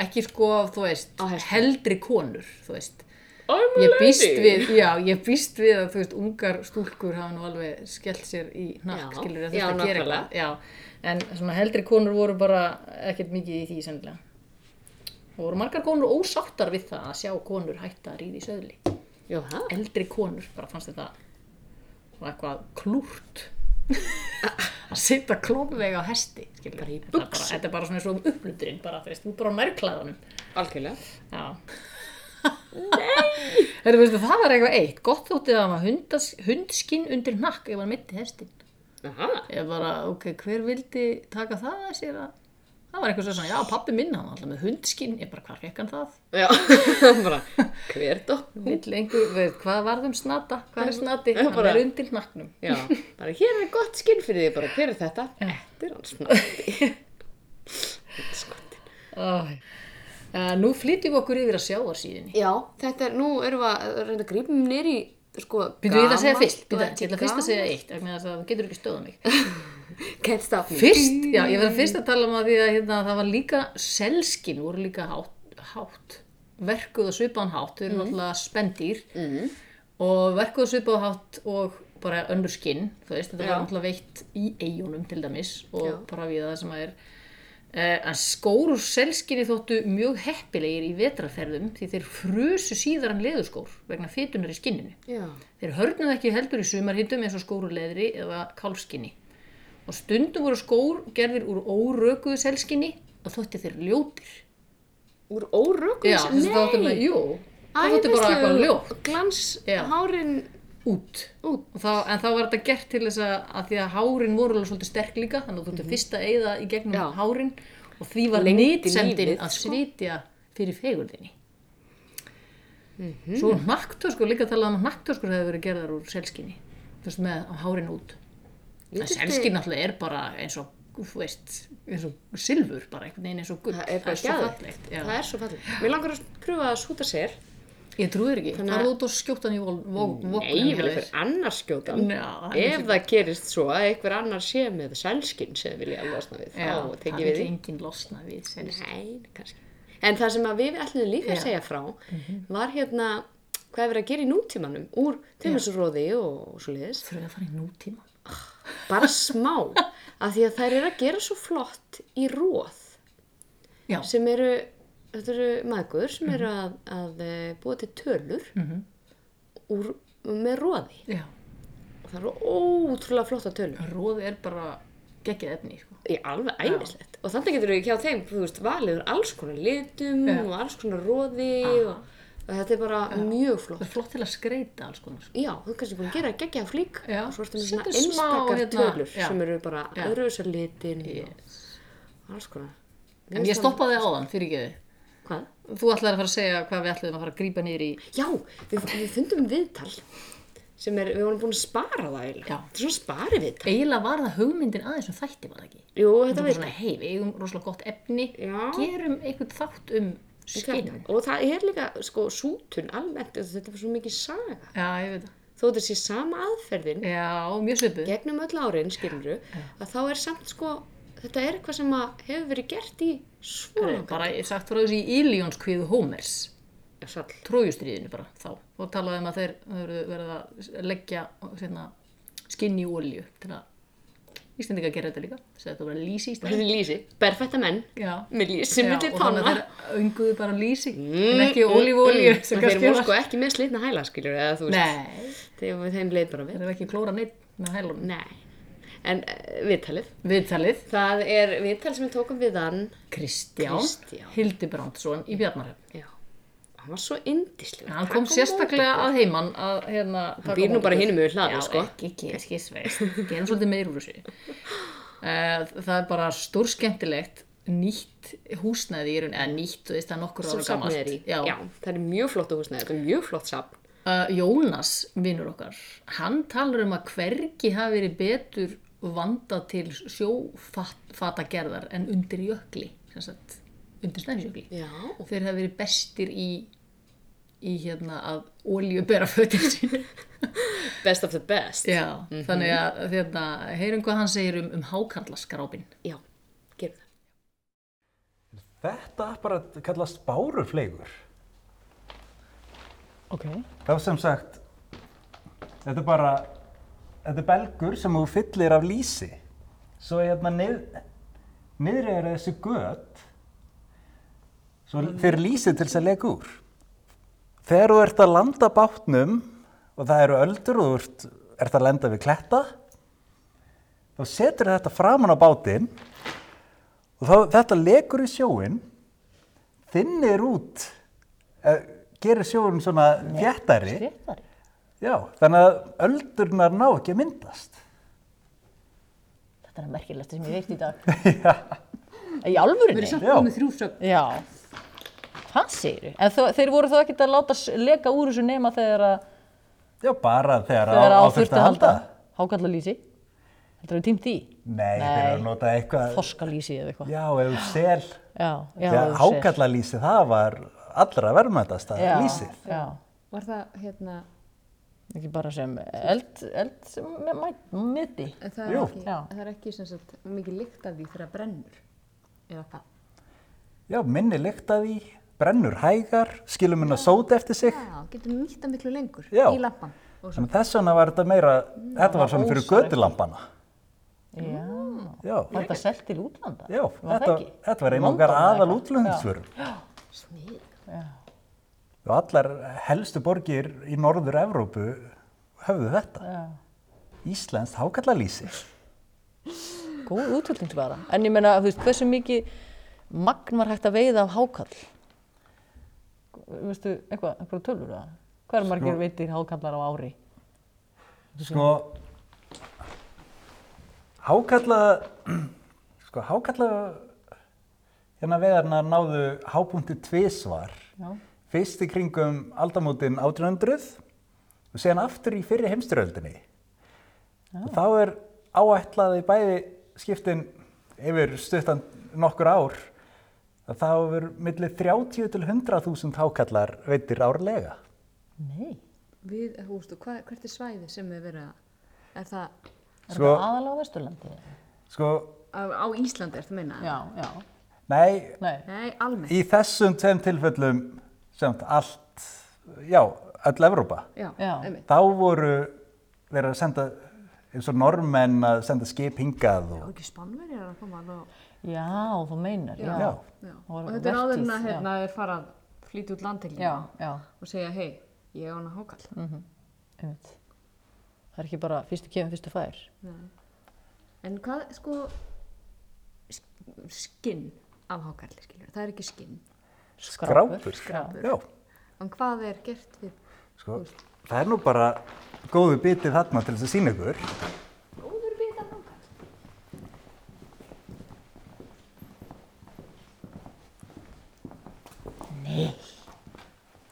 E: Ekki sko, þú veist,
D: Á hestum.
E: heldri konur, þú veist.
D: I'm a
E: Ég býst
D: lady.
E: við, já, ég býst við að, þú veist, ungar stúlkur hafa nú alveg skellt sér í nakk,
D: Já,
E: skilur
D: já,
E: þetta að gera
D: nákvæmlega.
E: eitthvað. Já, en svona heldri konur voru bara ekkert mikið í því sennilega. Og voru margar konur ósáttar við það að sjá konur hætta að ríði í söðli.
D: Jó, það?
E: Eldri konur, bara fannst þetta var eitthvað klúrt að sitja klómvega á hesti, skilur.
D: Bara í
E: Þetta er bara-
D: buxum.
E: Þetta er bara svona eins og um upplundurinn, bara, þú veist, þú er bara á nærklæðanum.
D: Algjörlega.
E: Já. Nei! Heru, veistu, það var eitthvað eitt. Gott þótti að maður hundas, hundskinn undir nakk ef maður mitti hestin.
D: Aha.
E: Ég bara, ok, hver vildi taka það að sér að... Það var eitthvað svona, já, pappi minn, hann var alltaf með hundskinn. Ég bara, hvar fekk hann það?
D: Já. bara, hver dótt?
E: Vill einhver, veit, hvað varðum snata? Hvað er snati?
D: Já,
E: Hann
D: bara-
E: er undir nakknum.
D: Já. Bara, hér er gott skinn fyrir því, bara, hver er þetta? Þetta er hans snatti.
E: Æ. Eh, Nú flytjum við okkur yfir að sjáarsíðinni.
D: Já, þetta er, nú erum við að reynda að grípum nýri í, sko,
E: Býtu við það að segja
D: gamalt
E: fyrst? Býtu
D: og
E: við það fyrst að segja eitt, vegna þess að það getur ekki stöðað mig.
D: gamalt. Can't stop me.
E: Fyrst, já, ég verði fyrst að tala um að því að hérna, það var líka, selskin voru líka hátt, hátt verkuð og svipaðan hátt, þau eru náttúrulega spendýr mm. og verkuð og svipaðan hátt og bara önnur skinn, þú veist, þetta var náttúrulega veitt í eigunum til dæmis og bara við það sem að er Eh, En skór úr selskinni þóttu mjög heppilegir í vetrarferðum því þeir frusu síðar en leðurskór vegna fytunar í skinninu.
D: Já,
E: Þeir hörnuð ekki heldur í sumarhittum eins og skór úr leðri eða kálskinni. Og stundum voru skór gerðir úr órökuðu selskinni og þótti þeir ljótir.
D: úr órökum
E: Já, þess að þáttu með, jú, það þótti bara eitthvað ljótt
D: Glans,
E: Já.
D: hárin,
E: út.
D: Út.
E: Og Þá, en þá var þetta gert til þess að, að því að hárin voru alveg svolítið sterk líka, þannig að þú þurfti fyrst að eyða í gegnum
D: Mhm. Já.
E: hárin og því var
D: Lengdi
E: nýtsendin
D: lífið,
E: að
D: sko.
E: svitja fyrir fegurðinni. Svo
D: Mhm.
E: naktoskur, líka talað um að naktoskur hefur verið gerðar úr selskinni, þú veist, með á hárin út. En
D: þurfti-
E: selskin náttúrulega er bara eins og, þú veist, eins og silfur bara, einhvern veginn eins og gull.
D: það er bara
E: svo
D: gæðið.
E: fallegt.
D: Það
E: Já.
D: er svo fallegt. Mér langar að pröfa að skúta sér.
E: Ég trúið ekki,
D: Þannig
E: það
D: að-
E: er út og skjóttan í voknum.
D: Nei, ég vil eitthvað annars skjóta. hann.
E: Já, það er
D: Ef það gerist svo að einhver annar sé með sælskinn sem vilja losna við, þá
E: það
D: tekjum við því.
E: vill enginn losna við selskin.
D: Nei, kannski. En það sem að við ætlum líka að
E: Já. Mhm.
D: segja frá var hérna hvað er verið að gera í nútímanum úr tímasróði og svo liðis.
E: Þurfum við að fara í nútíma?
D: Bara smá. af því að þær eru að gera svo flott í róð
E: Já.
D: sem eru, þetta eru maður sem eru
E: Mhm.
D: að, að eh, búa til tölur úr, með róði.
E: Já.
D: Og það eru ótrúlega flotta tölur.
E: Róð er bara geggjað efni, sko.
D: Í alveg æmislegt. Og þannig getur við hjá þeim, þú veist, valið úr alls konar litum
E: Já.
D: og alls konar róði og, og þetta er bara mjög flott.
E: Það er flott til að skreita alls konar, sko.
D: Já, þú ert kannski búin að gera geggja flík
E: Já.
D: og svo ertu með svona
E: Setur smá,
D: einstakar
E: hérna,
D: tölur
E: já.
D: sem eru bara
E: Já.
D: öðruvísar litin og alls konar. Mér
E: En ég
D: finnst það-
E: stoppaði áðan, fyrir ekki þið.
D: Hvað?
E: Þú ætlaði að fara að segja hvað við ætlaðum að fara að grípa niður í...
D: Já, við, við fundum viðtal sem er, við vorum búin að spara það eiginlega.
E: Já.
D: Þetta er svona spari viðtal.
E: Eiginlega var það hugmyndin aðeins um þætti, var það ekki?
D: Jú,
E: Þetta
D: þetta
E: var
D: veit
E: svona, hei, við eigum rosalega gott efni,
D: Já.
E: gerum einhvern þátt um skinn.
D: þetta. Og það er líka, sko, sútun almennt, þetta var svo mikið saga.
E: Já, ég veit það.
D: Þó þetta sé sama aðferðin,
E: Já, mjög svipuð.
D: gegnum öll árin, skilur að þá er samt sko, þetta er eitthvað sem að hefur verið gert í svo
E: Bara-
D: langa.
E: Bara ég sagt frá þessi í Iljóns kviðu Hómers.
D: Já, sall.
E: trójustriðinu bara þá og talaði um að þeir verðu verið að leggja hérna, skinn í olju til að Íslendinga gera þetta líka þess að þetta var lýsi í
D: Þetta
E: Íslendinga
D: er lísi, berfætta menn,
E: Já.
D: með lísi
E: Já,
D: milli
E: og
D: tanna.
E: þannig að þeir önguðu bara lýsi en ekki olífólju
D: Mm,
E: sem
D: en Þeir
E: kannski
D: voru
E: var
D: sko ekki með slitna hæla, skiljur, eða þú veist,
E: Nei,
D: þegar þeim leið bara
E: þeir
D: vel.
E: eru ekki klóra neitt með hælunum
D: Nei. En uh, viðtalið,
E: Viðtalið,
D: það er viðtal sem við tókum við hann,
E: Kristján,
D: Kristján.
E: Hildibrandsson í Bjarnarhöfn
D: já, hann var svo indislega.
E: Hann kom sérstaklega að heiman að hérna taka
D: býr nú
E: á móti
D: bara
E: okkur.
D: hinum yfir hlaðið, sko.
E: Já, ekki, ekki, ekki, sveist. Gerum svolítið meir úr þessu. Uh, það er bara stór skemmtilegt nýtt húsnæði í raun, eða nýtt, þú veist, það er nokkur
D: Svo
E: ára
D: safnið er í.
E: gamalt. Já.
D: það er mjög flott húsnæði, þetta er mjög flott safn.
E: Uh, Jónas, vinnur okkar, hann talar um að hvergi hafi verið betur vanda til sjófatagerðar en undir jökli, sem sagt, undir snæfisjökli
D: Já,
E: þeir hafa verið bestir í í hérna að olju bera fötin sín
D: best of the best.
E: Já,
F: Mhm.
E: þannig að hérna, heyrum hvað hann segir um, um hákarlaskrápin
D: Já, gerum það.
G: Þetta bara kallast bárufleigur.
E: Ok
G: Það var sem sagt, þetta er bara, þetta er belgur sem þú fyllir af lýsi. Svo hérna nið, niður er þessi gött, svo fyrir lýsið til þess að lega úr. Þegar þú ert að landa bátnum og það eru öldur og þú ert, ert að lenda við kletta, þá setur þetta framan á bátinn og þá, þetta legur í sjóinn þinnir út eh, gerir sjóðum svona þjættari já, þannig að öldurnar ná ekki að myndast
F: Þetta er það merkilegsta sem ég veit í dag. Í alvörunni?
G: Já,
F: Já. Hvað segir En þó, þeir voru þó ekkert að láta s- leka úr þessu nema þegar að
G: já bara þegar,
F: þegar
G: á, á
F: þurfti að halda. Hákallalýsi.
E: Þetta er tímt í.
G: Nei, þeir eru að nota eitthvað.
E: Þorskalýsi eða eitthvað.
G: Já, eða sel.
E: Já, já.
G: Þegar
E: þú sér.
G: hákalla lýsi, það var allra verðmætast að
E: Já,
G: lýsið.
E: Já,
D: Var það, hérna,
E: ekki bara sem eld, eld sem með mæ- miti.
D: en það er
G: Jú.
D: ekki,
E: Já.
D: það er ekki sem sagt, mikið lykt af því þegar það brennur. Eða hvað?
G: Já, minni lykta því, brennur hægar, skilur minna sót eftir sig.
D: Já, getum nýtt að miklu lengur
G: Já.
D: í lampan. Og
G: Þannig að þess vegna var þetta meira, þetta var svona fyrir gödulampana.
E: Já.
G: Já,
E: Var þetta selt til útlanda?
G: já,
E: Var
G: þetta, þetta var einu okkar aðal útlöðinsvörum.
D: smið.
G: Og allar helstu borgir í norður Evrópu höfðu þetta.
E: Já.
G: Íslenskt hákallalýsi.
E: Góð útvölding bara. En ég meina, þú veist, hversu mikið magn var hægt að veiða af hákall? Veistu, eitthvað, eitthvað tölur það? Hvað eru margir veitir hákallar á ári?
G: Sko, hákalla, sko, hákalla, hérna veðarna náðu hápunkti tvisvar.
E: Já.
G: Fyrst í kringum aldamótin 1800 og síðan aftur í fyrri heimstyröldinni. Og þá er áætlaði bæði skiptin yfir stuttan nokkur ár að þá er millir 30 til 100.000 hákallar veitir árlega.
E: Nei.
D: Við, þú veist, og hvað, hvert er svæði sem við verið að, er það,
E: Er þetta aðalega á Vesturlandi?
G: sko,
D: á, á Íslandi er það meina?
E: Já, já.
G: nei,
E: Nei.
D: Nei, almennt.
G: Í þessum tveim tilfellum semt allt, já, öll Evrópa,
D: Já,
E: Já.
D: einmitt.
G: þá voru verið að senda, eins og normenn að senda skip hingað og,
D: Og ekki spannverjar að koma alveg.
E: Já, þú meinar, já.
G: já,
D: Já.
E: Og
D: Og þetta er áður en að
E: vertíð, já.
D: hérna þeir fara að flytja út landhelgina
E: Já, já,
D: og segja, hei, ég á hana hákall.
E: einmitt. Það er ekki bara fyrstu kefum, fyrstu fær.
D: En hvað, sko, sk- skinn af hákalli, skiljur, það er ekki skinn.
G: skrápur,
E: Skrápur.
G: já,
D: En hvað er gert við
G: sko, það er nú bara góðu bitið þarna til þess að sína ykkur.
D: góður við af hákall?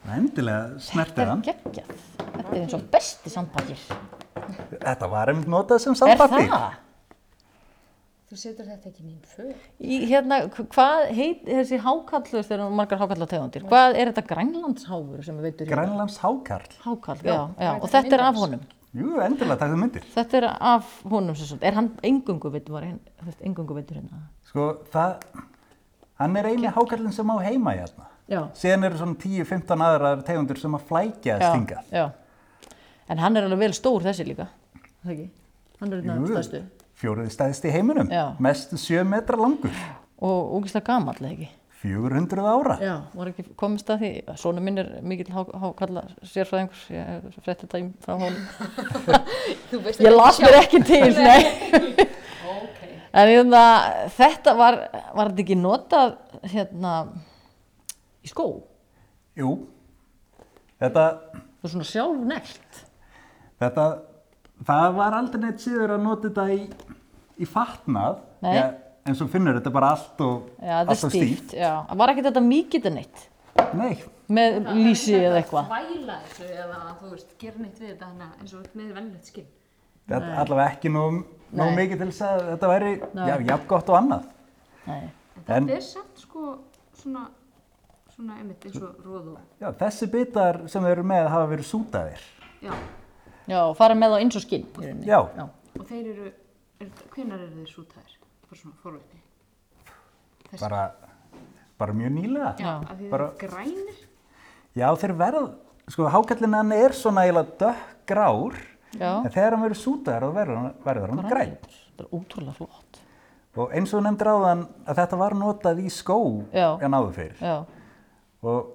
G: Það endilega snertir
E: Þetta er
G: hann.
E: geggjað. Þetta er eins og besti sandpakir.
G: Þetta var einmitt notað sem
E: Er
G: sandpappi.
E: það?
D: Þú setur þetta ekki nýjum föl.
E: Í, hérna, hv- hvað heit þessi hákall, þú veist, þeir eru margar hákallategundir. Hvað er þetta grænlandsháfur sem við veitur hérna?
G: Grænlands hákarl.
E: Hákall, já, já, og þetta er af honum.
G: Jú, endilega takk þið myndir.
E: Þetta er af honum sem svona. Er hann engungu veitur, var hann, þú veist, engungu veitur hérna?
G: Sko, það, hann er eini hákarlinn sem á heima hérna.
E: Já.
G: Síðan eru svona 10-15 aðrar tegundur sem að flækja að stinga.
E: Já, já. En hann er alveg vel stór þessi líka. Er Það ekki? Hann er hérna stærstu.
G: Fjóruði stæðist í heiminum,
E: Já.
G: mest 7 metra langur,
E: Og ógislega gamall, eða ekki?
G: 400 ára.
E: Já, var ekki komist að því, svona minn er mikill há- hákalla sérfræðingur, ég frétti þetta í- frá honum. ég las mér ekki til, nei. En hérna, þetta var, var þetta ekki notað hérna í skó,
G: Jú, þetta,
E: þú svona sjálfnægt.
G: þetta, það var aldrei neitt síður að nota þetta í, í fatnað,
E: Nei.
G: Ja, en svo finnur þetta bara allt og,
E: Já, þetta er
G: allt og stíft.
E: stíft, já. Var ekki þetta mikið en eitt,
G: Nei,
E: með lýsi eða eitthvað.
D: Væla þessu eða, þú veist, gera neitt við þetta hana eins og með vennlegt skinn.
G: þetta er allavega ekki nóg, nóg
E: Nei.
G: mikið til þess að þetta væri, já, jafn gott og annað.
E: Nei,
G: En
D: Þetta er samt, sko, svona, svona, einmitt, eins og róðu.
G: já, þessi bitar sem þeir eru með hafa verið sútaðir.
D: Já,
E: já, fara með þá eins og skinn í rauninni.
G: Já,
E: Já.
D: og þeir eru, er, hvenar eru þeir sútaðir? Bara svona forvitni.
G: bara, bara mjög nýlega.
D: Já, af því þeir
G: bara-
D: eru grænir.
G: Já, þeir verð, sko, hákallin hann er svona eiginlega dökkgrár,
E: Já.
G: en þegar hann verður sútaður þá verður hann, verður hann græn.
E: Þetta er ótrúlega flott.
G: Og eins og þú nefndir áðan að þetta var notað í skó
E: Já.
G: en áður fyrir.
E: Já,
G: Og,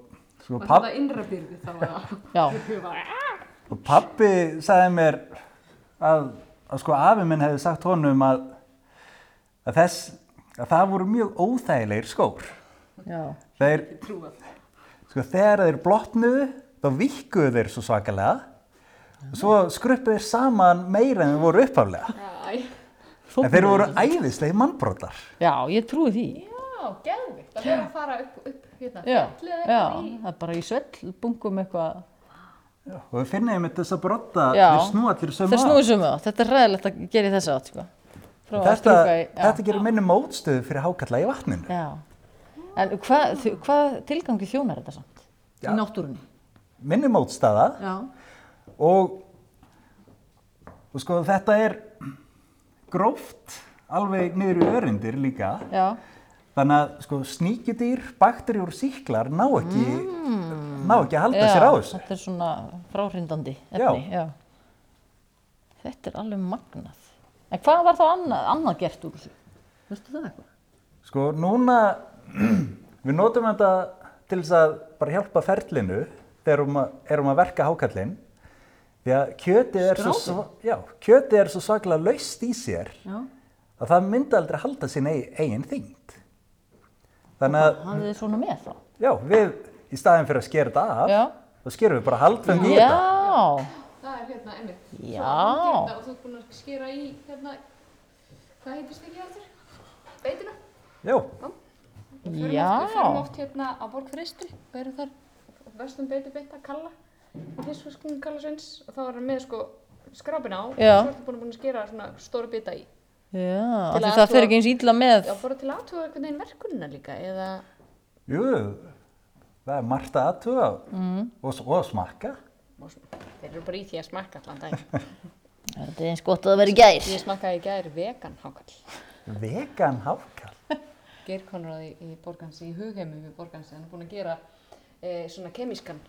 G: sko,
D: Var
G: papp,
D: þetta innra byrgu þá að...
E: já.
D: "Ah!"
G: og pappi sagði mér að, að sko, afi minn hefði sagt honum að, að, þess, að það voru mjög óþægilegir skór.
E: Já,
G: Þeir, sko, þegar þeir blotnuðu, þá vikkuðu þeir svo svakalega og svo skruppuðu þeir saman meira en þeir voru upphaflega.
D: Æ,
G: En þeir voru æðislega mannbrotar.
E: já ég trúi því.
D: já, geðvikt. Það er að fara upp, upp hérna.
E: Já, já, það er bara í svell bungum eitthvað.
G: Og við finnum einmitt þess að brotta,
E: Já.
G: þeir snú allir sömu
E: Þeir
G: að.
E: snúið sömu á, þetta er ræðilegt að gera í þessa átt, sko. prófa að
G: Þetta,
E: strjúka í já.
G: þetta gerir minni mótstöðu fyrir hákalla í vatninu.
E: Já. En hvað þ- hvað tilgangi þjónar þetta samt?
G: Já.
F: í náttúrunni.
G: Minni mótstaða
F: Já,
G: og, og sko þetta er gróft alveg niður í öryndir líka.
E: Já,
G: Þannig að sko sníkidýr, bakterjur og síklar ná ekki,
E: Mm.
G: ná ekki að halda sér á þessu.
E: þetta er svona fráhrindandi
G: Já.
E: efni. Já. Þetta er alveg magnað. En hvað var þá annað, annað gert úr þessu? Vistu það eitthvað?
G: Sko núna, við notum þetta til þess að bara hjálpa ferlinu þegar um að, erum að verka hákallinn. Því að kjötið er, svo, sva- já, kjötið er svo svaklega laust í sér
F: já.
G: að það myndi aldrei halda sín eigin, eigin þyngd. Þannig að,
E: Hafið þið svona með þá?
G: já, við í staðin fyrir að skera þetta af,
E: Já.
G: þá skerum við bara haldfeng í þetta.
E: Já,
D: Það er hérna einmitt. Svo
E: Já.
D: að þú gerir þetta Og þú ert búin að skera í hérna, hvað heitist ekki aftur? Beitina.
G: Já,
D: Við förum
E: Já.
D: oft- Við förum oft hérna á borg fristri og erum þar vestum beitu beitta, kalla. Fiskfiskunum kalla sveins og þá erum við með sko skrapin á og
E: Já.
D: svo ertu búin að búin að skera svona stóra bita í.
E: já, af
D: Til
E: því
D: að
E: það
D: athuga-
E: fer ekki eins ítla með.
D: Já, bara til aðtuga einhvern veginn verkunina líka eða
G: jú, það er margt að aðtuga mm. og, s- og smakka.
D: og svona, þeir eru bara í því að smakka allan dag.
E: Þetta er eins gott að það veri gæs.
D: Ég smakkaði í gæri vegan hákall.
G: Vegan hákall.
D: Geir Konráð í, í Borgansi, í hugheimum í Borgansi, hann er búinn að gera e, svona kemískan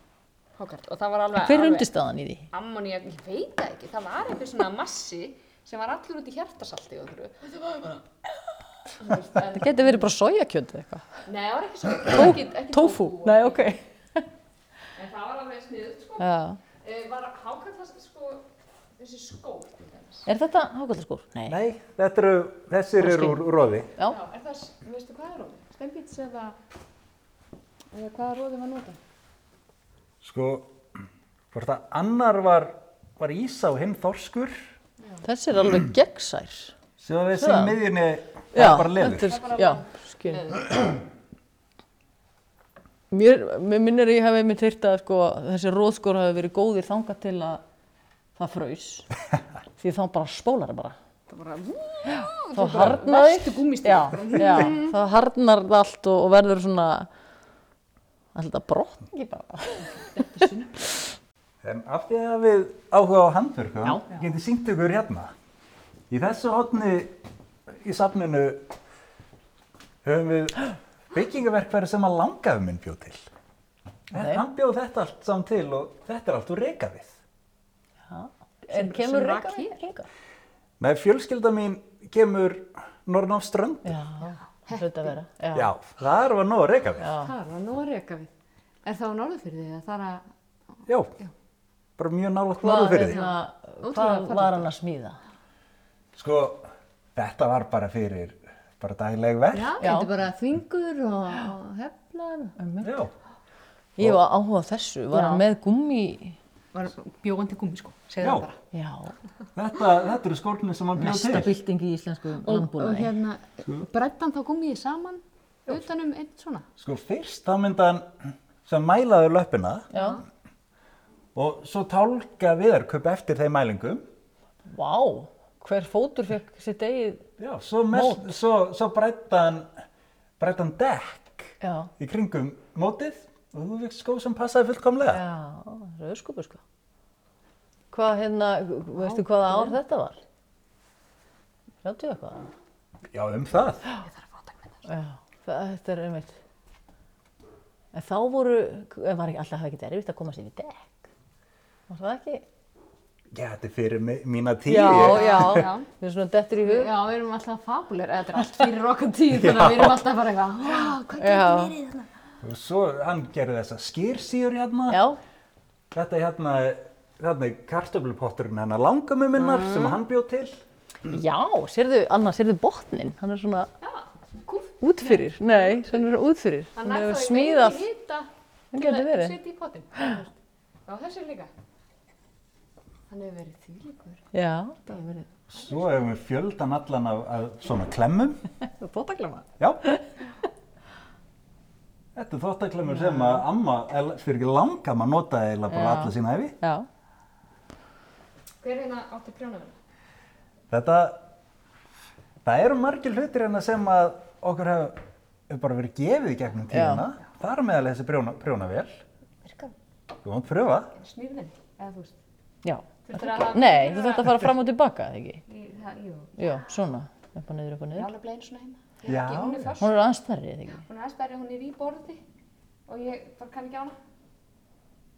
D: hákarl og það var alveg...
E: Hver er
D: alveg-
E: undirstaðan í því?
D: Ammoníak, ég veit það ekki, það var eitthvað svona massi sem var allur út í hjartasalti og þurru.
E: Það getur verið bara sojakjönd eða eitthvað.
D: Nei, það var ekki svona, ekki, ekki
E: Tofu? Nei, ok.
D: En það var alveg sniðut, sko.
E: Já.
D: E, var hákarl það sem, sko, þessi skór til dæmis.
E: Er þetta hákvöldarskór? Nei.
G: Nei, þetta eru, þessir eru úr róði.
D: Já, er það, s- veistu hvað er róðið? Stembits eða, eða hvaða róðið var notað?
G: Sko, hvort að annar var, var Ísa og hinn Þorskur,
E: Þessi er alveg gegnsær.
G: sem að við
E: Svo.
G: sem miðjunni það er bara leður.
E: þetta er, já, skil. Mér, mér minnir að ég hef einmitt heyrt að sko, þessi róðskór hafi verið góðir þangað til að það fraus. Því þá bara spólar það bara. Það bara, þá harnar
D: Þetta gúmist
E: já, já, það harnar það allt og, og verður svona alltaf brotningi bara
G: En af því að við áhuga á handverkum, getið sýnt ykkur hérna. Í þessu hotni í safninu höfum við byggingaverkfæri sem að langaðu minn bjóð til.
E: Nei.
G: Hann bjóð þetta allt saman til og þetta er allt úr reykafið.
E: en kemur Reykjavík hinga?
G: Nei, fjölskylda mín kemur norðan á strönd.
E: já, það hlut að vera já,
G: Já, þar var nóg að reykafið.
D: Það var nú að reka við. Er það á norðfyrði eða þar að...
G: Já, bara mjög nálaft
E: Hvað,
G: norður fyrir því.
E: hérna,
D: Ótrúlega
E: hvað
D: fallegt.
E: var hann að smíða?
G: Sko, þetta var bara fyrir bara dagleg verð.
D: Já, þetta er bara þvingur og og heflar.
G: Já.
E: Ég var áhuga á þessu, var hann með gummi
F: Var bjóðan til gummi sko.
G: Já,
E: Já,
G: þetta, þetta eru skórnir sem hann bjóð
F: Mesta
G: til.
F: bylting í íslensku
D: Og, og
F: landbúnaði.
D: hérna, brettan þá komið þið saman utanum einn svona.
G: Sko, fyrst þá myndi hann sem mælaður löppina
E: já,
G: og svo tálka viðarköp eftir þeim mælingum.
E: vá Hver fótur fekk sitt eigið
G: Já, svo, mest, svo, svo breytta hann, breytta hann dekk
E: Já,
G: í kringum mótið og þú veist skó sem passaði fullkomlega.
E: já, rauðskupu sko Hvað hérna, veistu hvaða ár þetta var? 30 eitthvað?
G: Já, um það.
E: Já, það- þetta er einmitt. En þá voru, en var ekki alltaf ekki erfitt að komast yfir dekk. Var það ekki?
G: Já, þetta er fyrir mi- mína tíu.
E: Já, já,
D: Já.
E: Við erum svona dettur í hug.
D: Já, við erum alltaf fabulir, þetta er allt fyrir okkar tíð, þannig að við erum alltaf bara eitthvað, "Vá, hvað
E: Já,
G: Og svo hann gerði þessa skýrsýur hérna.
E: já,
G: Þetta er hérna, hérna er kartöflupotturinn hennar langamöminnar
E: Mm.
G: sem hann bjóð til.
E: já, sérðu, Anna, sérðu botnin, hann er svona útfyrir, nei, hann er svona útfyrir. Hann
D: er þá
E: hefur
D: í
E: smíðað,
D: meiri hita til
E: hann getur
D: að
E: verið.
D: setja í potin. Já, þessi líka. Hann hefur verið því líkur.
E: Já,
G: Svo hefum við fjöldan allan af, af svona klemmum.
F: Bótaklema.
G: Já. Þetta er þóttaklemmur sem að amma, el- fyrir ekki langamma notaði eiginlega bara alla sína hefi.
E: já,
D: Hver er hérna átti prjónaverða?
G: Þetta, það eru margir hlutir hérna sem að okkur hefur hef bara verið gefið í gegnum tíðina. Þar á meðal er þessi prjóna, prjónavél.
D: Virkar hún?
G: Þú mátt pröfa.
D: Snýrðin? Eða þú veist?
F: Já.
D: Þurftir að hafa-
F: Nei, þú þurft að fara fram og tilbaka, eða ekki?
D: Í- það- Jú,
F: Jú, svona, upp og niður, upp og
D: ég er
F: niður.
D: alveg einu svona heima. Ég
G: Já.
D: er ekki, hún er föst.
F: Hún er aðeins stærri, eða ekki?
D: Hún er aðstæðri, hún er í borði og ég bara kann ekki á hana.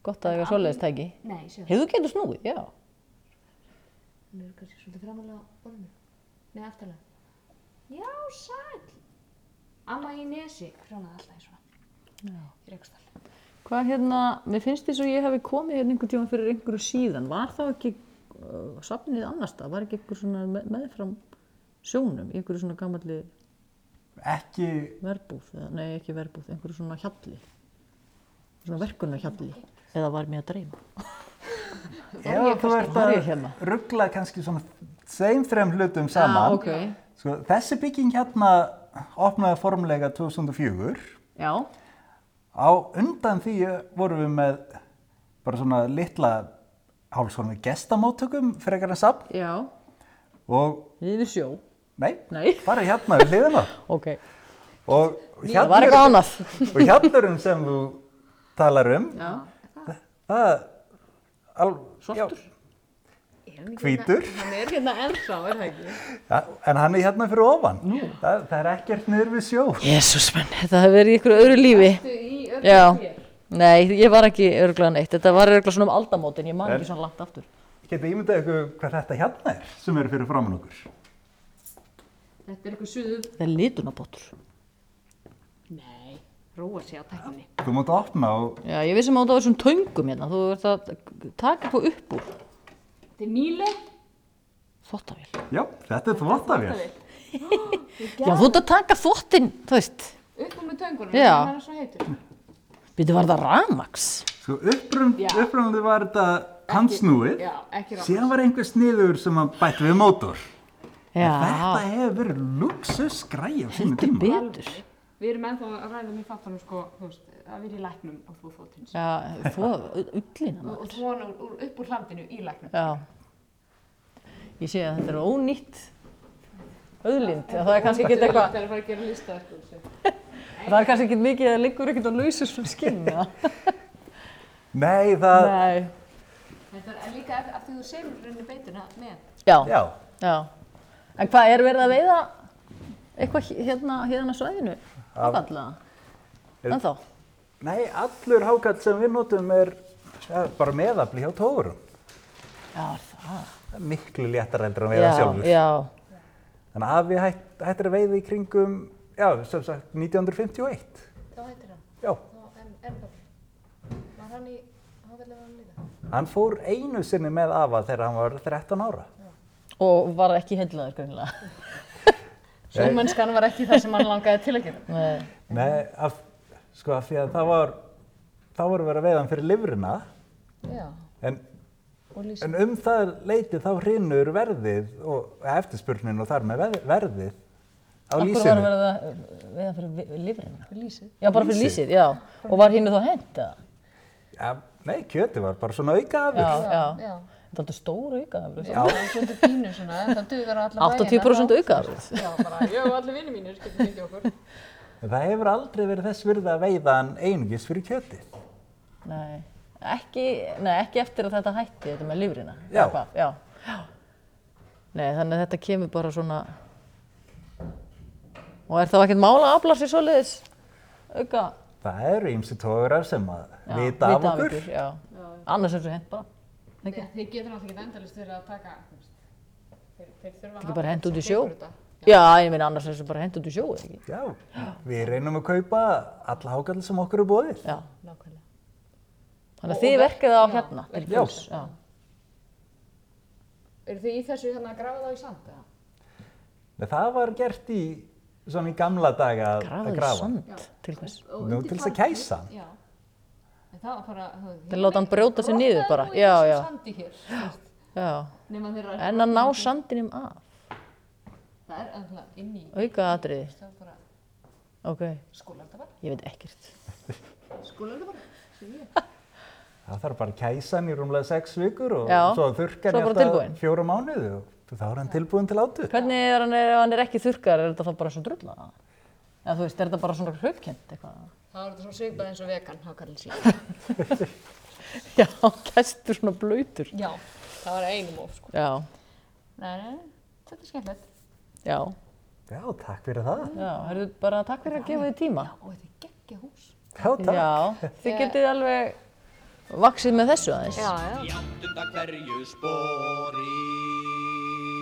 F: Gott að eiga svoleiðist tæki.
D: Nei, sjá,
F: Hefur þú getur snúið, já.
D: hún er kannski svolítið framalega á borðinu. Nei, aftalega. Já, sæl. Amma í nesi, frjónaði alltaf í svona. Já. Í reykstall.
F: Hvað hérna, mér finnst því svo ég hefði komið hérna einhver tíma fyrir einhverju síðan. Var þá ekki uh, safnið annars það? Var ekki einhver svona með, meðfram sjónum, í einhverju svona gamalli
G: Ekki,
F: verbúð, eða, nei ekki verbúð, einhverju svona hjalli, svona verkunarhjalli, eða var mér að dreyma.
G: ef þú ert
F: var
G: að
F: ég hérna?
G: ruggla kannski svona þeim þrem hlutum saman.
F: Já, ok.
G: Sko, þessi bygging hérna opnaði formlega 2004.
F: Já,
G: Á undan því vorum við með bara svona litla hálfsvona gestamóttökum frekar en safn
F: já,
G: og
F: yfir sjó,
G: nei,
F: nei,
G: bara hérna við hliðina
F: ok.
G: og
F: Það var
G: hjallurum,
F: eitthvað annað.
G: og hjallurum sem þú talar um já. það al, svartur já, hvítur
D: Hann er hérna ennþá, er það ekki?
G: ja, en hann er hérna fyrir ofan það, það er ekkert niður við sjó
F: Jésús menn, þetta hefði verið í ykkur öðru lífi. Já, nei, ég var ekki örglega neitt. Þetta var örglega svona um aldamótin, ég man ekki svona langt aftur.
G: geta ímyndað ykkur hvað þetta hérna er sem eru fyrir framann okkur
B: Þetta er eitthvað suðu.
F: Þetta er litunabótur.
B: Nei, róa sig á tækninni.
G: þú mátt opna og
F: Já, ég vissi maður að það var svona töngum hérna. Þú ert að taka eitthvað upp úr.
B: Þetta er nýle.
F: Þvottavél.
G: já, þetta er þvottavél
F: Já, þú ert að taka þvottin, þú veist.
B: Upp og með töngunum.
F: Já.
B: Það er svo heitur.
F: Býtu var það ramax.
G: sko upprum, upprumlega var þetta handsnúið
B: Já, ekki rátt.
G: síðan var einhver sniður sem að bætt við mótor þetta
F: Já,
G: hefur verið luxus græja sínum
F: þetta er
G: tíma
F: betur.
B: Við erum ennþá að ræða með fattanum sko, þú veist, að vera í læknum og þú þóttins.
F: Já, þú, ullina maður.
B: Og svona úr, úr, upp úr hlandinu í læknum.
F: Já. Ég sé að þetta er ónýtt auðlind. að Það er kannski ekki eitthvað
B: Það er að fara að gera lista eftir þessu.
F: Það er kannski ekkert mikið að það liggur ekkert á lausur svona skinna.
G: nei, það,
F: Nei.
B: Þetta er líka af, af því þú segir rauninni beituna með.
F: Já, já.
G: já
F: En hvað er verið að veiða eitthvað hé- hérna, hérna á svæðinu? Áfalla. En þá?
G: Nei, allur hákall sem við notum er ja, bara meðafli hjá tórum.
F: Já, er það.
G: Það er miklu léttar heldur en veiða sjálfur.
F: já.
G: Þannig að við hætt, hættir að veiða í kringum, já, sem sagt, 1951.
D: Þá heitir hann.
G: Já,
D: Þá- En, en, var hann í, hann vilja vera hann líka?
G: hann fór einu sinni með afa þegar hann var 13 ára.
F: Og var ekki heillaður grunlega.
C: Sjómennskan var ekki það sem hann langaði til að gera.
F: Nei.
G: Nei, af, sko, af því að það var, þá voru verið að veiða hann fyrir lifrina.
D: Já.
G: En, en um það leiti þá hrinur verðið og eftirspurnin og þar með veð- verðið á
F: Akkur var
G: lýsinu.
F: verið að veiða fyrir vi- lifrina? Fyrir
D: lýsið.
F: Já, bara fyrir
G: Lýsið.
F: lýsið, já. Og var hinnu þá hent, eða?
G: Ja, nei, kjöti var bara svona auka
F: Já, já.
D: Já.
F: Þetta er alltaf stór aukaðafrið.
G: Já.
D: Það er svolítið pínu svona, en það dugar á alla
F: 80% aukaðafrið.
D: Já, bara, ég og allir vinni mínir getur fengið okkur.
G: En Það hefur aldrei verið þess virði að veiða hann einungis fyrir kjöti.
F: Nei. Ekki, nei, ekki eftir að þetta hætti, þetta með lifrina.
G: Já.
F: eða hvað, Já. já. Nei, þannig að þetta kemur bara svona... Og er þá ekkert mála að afla sér svoleiðis auka?
G: Það eru ýmsi tórar sem að
F: Já,
G: vita af okkur.
F: Já. Annars er þetta hent bara.
B: Þeir, þeir getur náttúrulega ekki endalist verið að taka, þú veist, þeir, þeir þurfa að
F: Ekki bara hent út í sjó.
B: þetta.
F: Já, ég meina annars er þetta bara hent út í sjóið, ekki?
G: Já, við reynum að kaupa alla hákall sem okkur er bóðið.
F: Já. Nákvæmlega. Þannig að þið verkið á hérna. til
G: Já.
F: fjöls, já.
B: Eru þið í þessu þannig að grafa þá í sand? eða?
G: Nei, Það var gert í svona í gamla daga að- að
F: Grafið
G: grafa.
F: sand til hvers.
B: Og
G: Nú
B: undir
G: til þess að
B: tangið,
G: kæsa hann.
B: Já. En það var bara, þú
F: Til að láta hann brjóta sér niður bara.
B: Rótaðu nú í
F: Já, já.
B: þessum sandi hér, þú veist,
F: Já.
B: nema þeirra,
F: En að ná sandinum af.
B: það er ennlega inn í,
F: Aukaðatriði.
B: það er bara
F: Ok.
B: skólandabar,
F: Ég veit ekkert.
B: skólandabar.
G: Það þarf bara að kæsa hann í rúmlega sex vikur og
F: Já,
G: svo að þurrka
F: svo
G: hann
F: bara
G: í alltaf
F: tilbúin.
G: fjóra mánuði og Þá er hann tilbúin til átu.
F: Hvernig er hann, ef hann er ekki þurrkar, er þetta þá bara svo drulla? Eða þú veist, er þetta bara svona hlaupkent eitthvað?
D: Þá er þetta svona svipað eins og vegan, hákallin sín.
F: Já, gæstur svona blöytur.
D: Já. Það var einum of, sko.
F: Já,
B: Nei, nei, þetta er skemmtilegt.
F: já,
G: Já, takk fyrir það.
F: já, herðu bara takk fyrir að gefa þið tíma.
B: Ó, þetta er geggja hús.
G: Já, takk.
F: Já, þið getið alveg vaksið með þessu aðeins.
D: Já, já.
A: í áttunda hverju spori.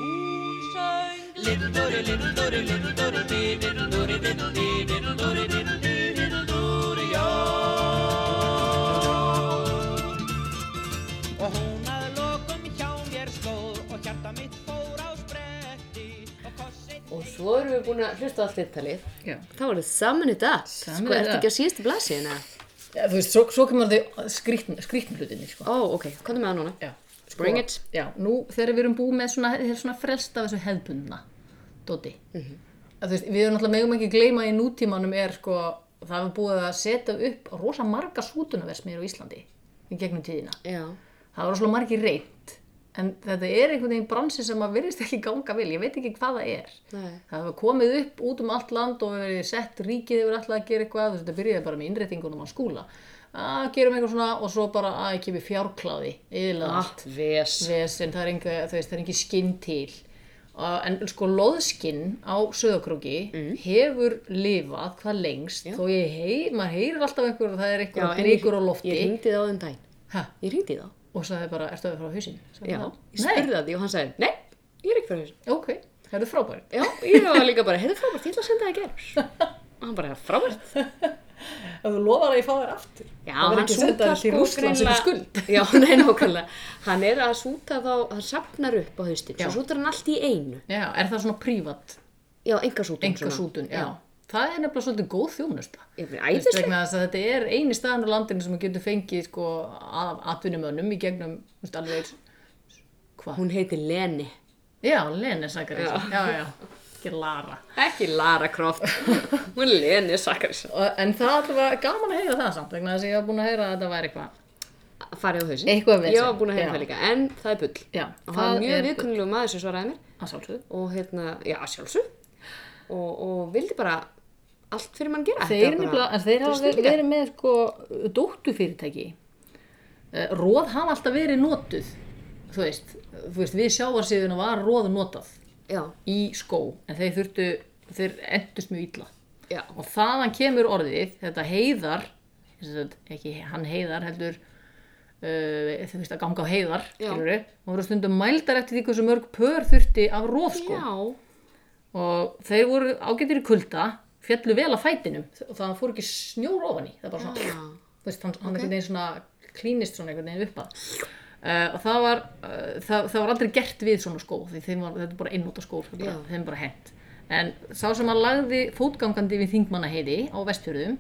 A: Hún söng Lindori, lindori, lindori, di, dindori, dindi, dindori, dindi, dindori, já. Og hún að lokum hjá mér stóð og hjarta mitt fór á spretti og kossið
D: Og svo erum við búin að hlusta á allt viðtalið.
E: Já.
D: Þá erum við saman í dag.
E: Saman
D: sko,
E: í
D: ertu
E: dag.
D: ekki á síðustu blasiðina?
E: Já, þú veist, svo, svo kemur þau skrítn, skrítnlutinni, sko.
D: Ó, ok, komdu með það núna. Sko,
E: Já.
D: Bring it.
E: Já, nú þegar við erum búið með svona, þeir svona frelst af þessu hefðbundna, Dóti. að þú veist, við erum náttúrulega megum ekki gleyma í nútímanum er sko, það er búið að setja upp rosa marga sútunaversmiður á Íslandi í gegnum tíðina.
D: Já.
E: Það var rosalega margi reynd, en þetta er einhvern veginn bransi sem að virðist ekki ganga vel, ég veit ekki hvað það er.
D: Nei.
E: Það hefur komið upp út um allt land og verið sett ríkið yfir alltaf að gera eitthvað, þú veist, þetta byrjaði bara með innréttingunum á skúla. Að gerum eitthvað svona og svo bara að ekki við fjárkláði, yfirlega allt
D: ves.
E: vesen, það er enga, þú veist, það er engi skinn til. Uh, en sko loðskinn á söðakróki hefur lifað hvað lengst þó ég heyr, maður heyrir alltaf einhver það er
D: Já,
E: einhver
D: en
E: blíkur á lofti
D: Ég ringdi það á þeim daginn.
E: ha,
D: Ég ringdi þá.
E: og sagði bara, ertu að vera frá hausinn? Sagði
D: Já.
E: hann,
D: Ég spurði það því og hann sagði, nei, ég er ekki fyrir þessu.
E: Nei, ok, það eru frábæri
D: Já, ég var líka bara, heyrðu frábært, ég ætla að senda það í gerð. Og hann bara, frábært.
E: Ef þú lofar að ég fá þér aftur
D: Já,
E: Það verður
D: hann
E: ekki að senda
D: sútar
E: þér til
D: sko
E: Rússlands
D: greinlega-
E: eftir skuld.
D: Já, nei, nákvæmlega. Hann er að súta þá, hann sapnar upp á haustin. Svo
E: Já.
D: sútar hann allt í einu.
E: Já, er það svona prívat,
D: Já, enga sútun.
E: enga sútun, já. Það er nefnilega svolítið góð þjónusta
D: Ég er
E: Þú veist,
D: æðislega.
E: vegna þess að þetta er eini staðan á landinu sem getur fengið sko, af atvinnumönnum í gegnum þú veist, alveg hvað?
D: Hún heitir Leni.
E: Já, Lene Sakarísson, já, já, ekki Lara.
D: Ekki Lara Croft. Hún er Leni Sakarsson.
E: Og, en það alltaf var gaman að heyra það samt, vegna þess að ég var búin að heyra að þetta væri eitthvað.
D: Farið á hausinn.
E: Eitthvað vesen.
D: Ég var búin að hefða
E: Já.
D: það líka, en það er bull.
E: Já,
D: Og það er mjög
E: er-
D: viðkunnulegu maður sem svaraði mér.
E: að sjálfsögðu.
D: Og hérna, já, sjálfsög. Og, og vildi bara allt fyrir mann gera. Þetta var
E: Þeir,
D: bara-
E: nefnilega, en þeir hafa
D: Þetta er
E: verið,
D: snillingar.
E: verið með sko, dóttufyrirtæki. Eh, Róð hafa alltaf verið notuð, þú veist, þú veist við sjáarsýðuna var róð notað
D: Já,
E: í skó, en þeir þurftu, þeir endust mjög illa.
D: já.
E: og þaðan kemur orðið þetta heiðar sem sagt, ekki hann heiðar heldur uh, þú veist að ganga á heiðar
D: Já.
E: skilurðu, og voru stundum mældar eftir því hversu mörg pör þurfti af sko. róðskó
D: Já.
E: og þeir voru ágættir í kulda fjallu vel að fætinum og það fór ekki snjór ofan í það bara svona
D: Já.
E: þú veist, hann, hann einhvern veginn svona klínist svona einhvern veginn upp að uh, og það var, uh, það, það var aldrei gert við svona skó því þeim var, þetta er bara einnóta skór þetta er bara-
D: Já.
E: þeim er bara hent en sá sem að lagði fótgangandi við þingmannaheiði á vestfjörðum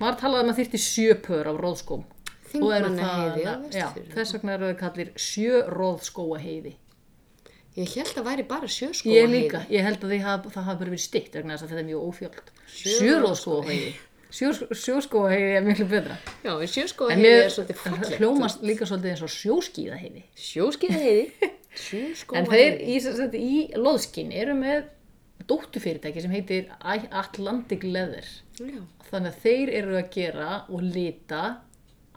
E: var talað um að þyrfti sjö pör af róðskóm Og eru
D: Þingmannaheiði
E: það-
D: á
E: já,
D: Vestfjörðum.
E: þess vegna eru það kallir sjö róðskóaheiði
D: Ég held að væri bara sjöskóa
E: Ég líka, ég held að haf, það hafi bara verið stitt vegna þess að þetta er mjög ófjöld Sjöróðskóaheiði Sjó- Sjóskóaheiði er miklu betra
D: Já, en sjöskóa
E: En
D: heiði
E: mér
D: er svolítið fallegt.
E: hljómast líka svolítið eins og sjóskíðaheiði
D: Sjóskiða heiði. Sjöskóa
E: En þeir í, sem sagt, í loðskinn eru með dóttufyrirtæki sem heitir Atlantic Leather
D: Já.
E: Þannig að þeir eru að gera og lita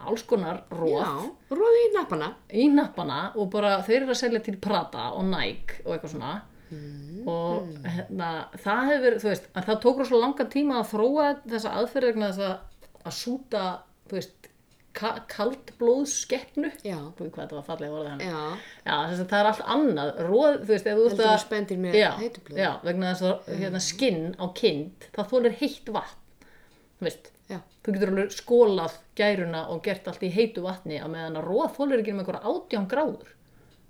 E: alls konar róð
D: Já, róði í nappana.
E: í nappana og bara þeir eru að selja til Prada og Nike og eitthvað svona
D: Mm.
E: og hérna, það hefur, þú veist, að það tók rosa langa tíma að þróa þessa aðferð vegna þess að að súta, þú veist, ka kaldblóðskeppnu
D: Já.
E: Guð, hvað þetta var fallega orðið hann
D: Já.
E: Já, þess að það er allt annað, róð, þú veist, ef þú ert
D: Heldur
E: að
D: þú spendir með
E: já,
D: heitu blóði? Mm.
E: Já, vegna þess að hérna, skinn á kind, það þólir heitt vatn, þú veist,
D: Já.
E: þú getur alveg skólað gæruna og gert allt í heitu vatni að meðan að róð þólir ekki um einhverja átján gráður.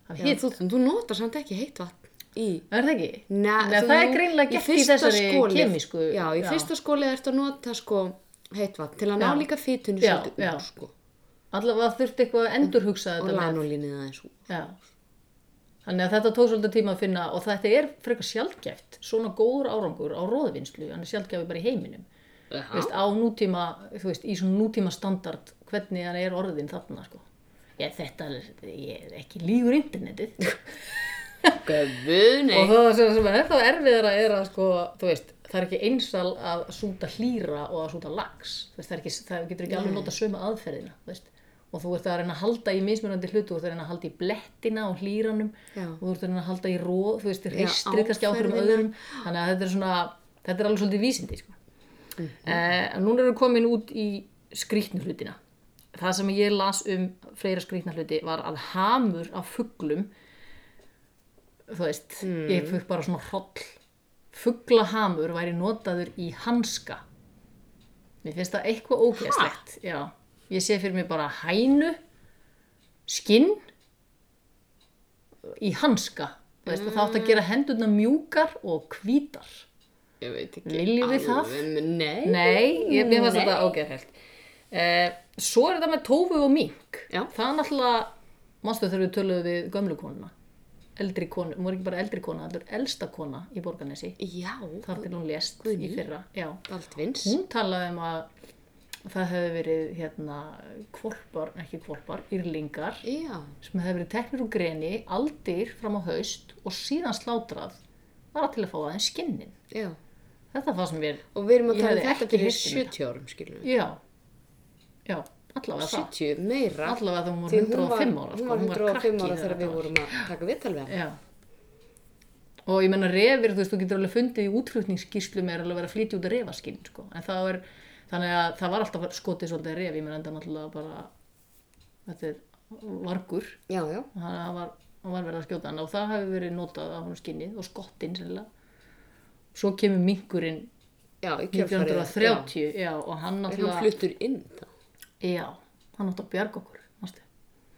E: Það
D: Hitt,
E: hitt,
D: þú, þú notar samt ekki heitt vatn í...
E: er það ekki?
D: Na,
E: Nei,
D: þú-
E: það er greinlega gert í
D: fyrsta
E: þessari
D: skólið-
E: kemísku-
D: Já, í
E: já.
D: fyrsta skólið ertu að nota sko heitt vatn til að ná
E: Já.
D: líka fytunni
E: Já,
D: svolítið
E: já.
D: úr sko.
E: Allavega þurfti eitthvað að endurhugsa
D: Og
E: þetta með
D: lanolínið aðeins úr.
E: Já. Þannig að þetta tók svolítið tíma að finna og þetta er frekar sjálfgæft, svona góður árangur á róðvinnslu, hann er sjálfgæfi bara í heiminum. Þú Veist, á nútíma, þú veist, í svona nútíma standard, hvernig hann er orðin þarna, sko. Ég, þetta er, ég er ekki lífur internetið.
D: Guðni
E: og það sem, sem er ennþá erfiðara er að sko, þú veist, það er ekki einsal að súta hlýra og að súta lax þú veist, það, er ekki, það getur ekki alveg nota sömu aðferðina þú veist. og þú ert að reyna að halda í mismunandi hlutu, þú ert að reyna að halda í blettina og hlýranum
D: Já.
E: og þú ert að reyna að halda í róð þú veist, reistri kannski á hverjum
D: áferðina.
E: öðrum þannig að þetta er svona, þetta er alveg svolítið vísindi sko. mm núna erum við komin út í skrýtnu hlutina það sem ég las um fleira skrýtna hluti var að hamur af fuglum þú veist, ég fugg bara svona hroll fugglahamur væri notaður í hanska mér finnst það eitthvað ógeðslegt já, ég sé fyrir mig bara hænu skinn í hanska þú veist, mm. það átt að gera hendurna mjúkar og hvítar
D: Ég veit ekki
E: Viljum við það?
D: alveg, Nei
E: Nei, ég mér fannst þetta ágæðhelt. Uh, svo er þetta með tófu og mink.
D: Já.
E: Það er náttúrulega, mástu þegar við töluðum við gömlu konuna, eldri konu, hún var ekki bara eldri kona, þetta er elsta kona í Borgarnesi,
D: Já,
E: þar til hún lést í fyrra. Já.
D: Baldvins
E: Hún talaði um að það hefði verið hérna kvolpar, ekki kvolpar, írlingar
D: Já,
E: sem hefði verið teknir úr greni, aldir fram á haust og síðan slátrað bara til að fá aðeins skinnin.
D: já
E: Þetta fannst mér,
D: Og við erum að
E: Ég
D: tala um
E: hefði
D: þetta
E: ekki
D: fyrir
E: heyrt um
D: 70 árum, skilum við
E: já, já, allavega það.
D: 70, meira
E: allavega þegar hún var
D: Því
E: 105 ára
D: Hún var
E: sko,
D: 105
E: krakki
D: ára þegar við
E: þetta
D: vorum að taka viðtal við hann
E: já. og ég menna refir þú veist, þú getur alveg fundið í útflutningsskýrslum er alveg verið að flytja út að refaskinn sko. en það er, þannig að það var alltaf skotið svolítið ref, ég menna enda náttúrulega bara þetta er vargur
D: Já, já,
E: þannig að það var, það var verið að skjóta hann og það hefur verið notað á hann skinnið og skottinn sennilega svo kemur minkurinn
D: já, í kjölfarið
E: 1930 já. og
D: Er
E: hann
D: hann
E: náttúrulega
D: fluttur inn þá?
E: já, hann náttúrulega bjarga okkur mástu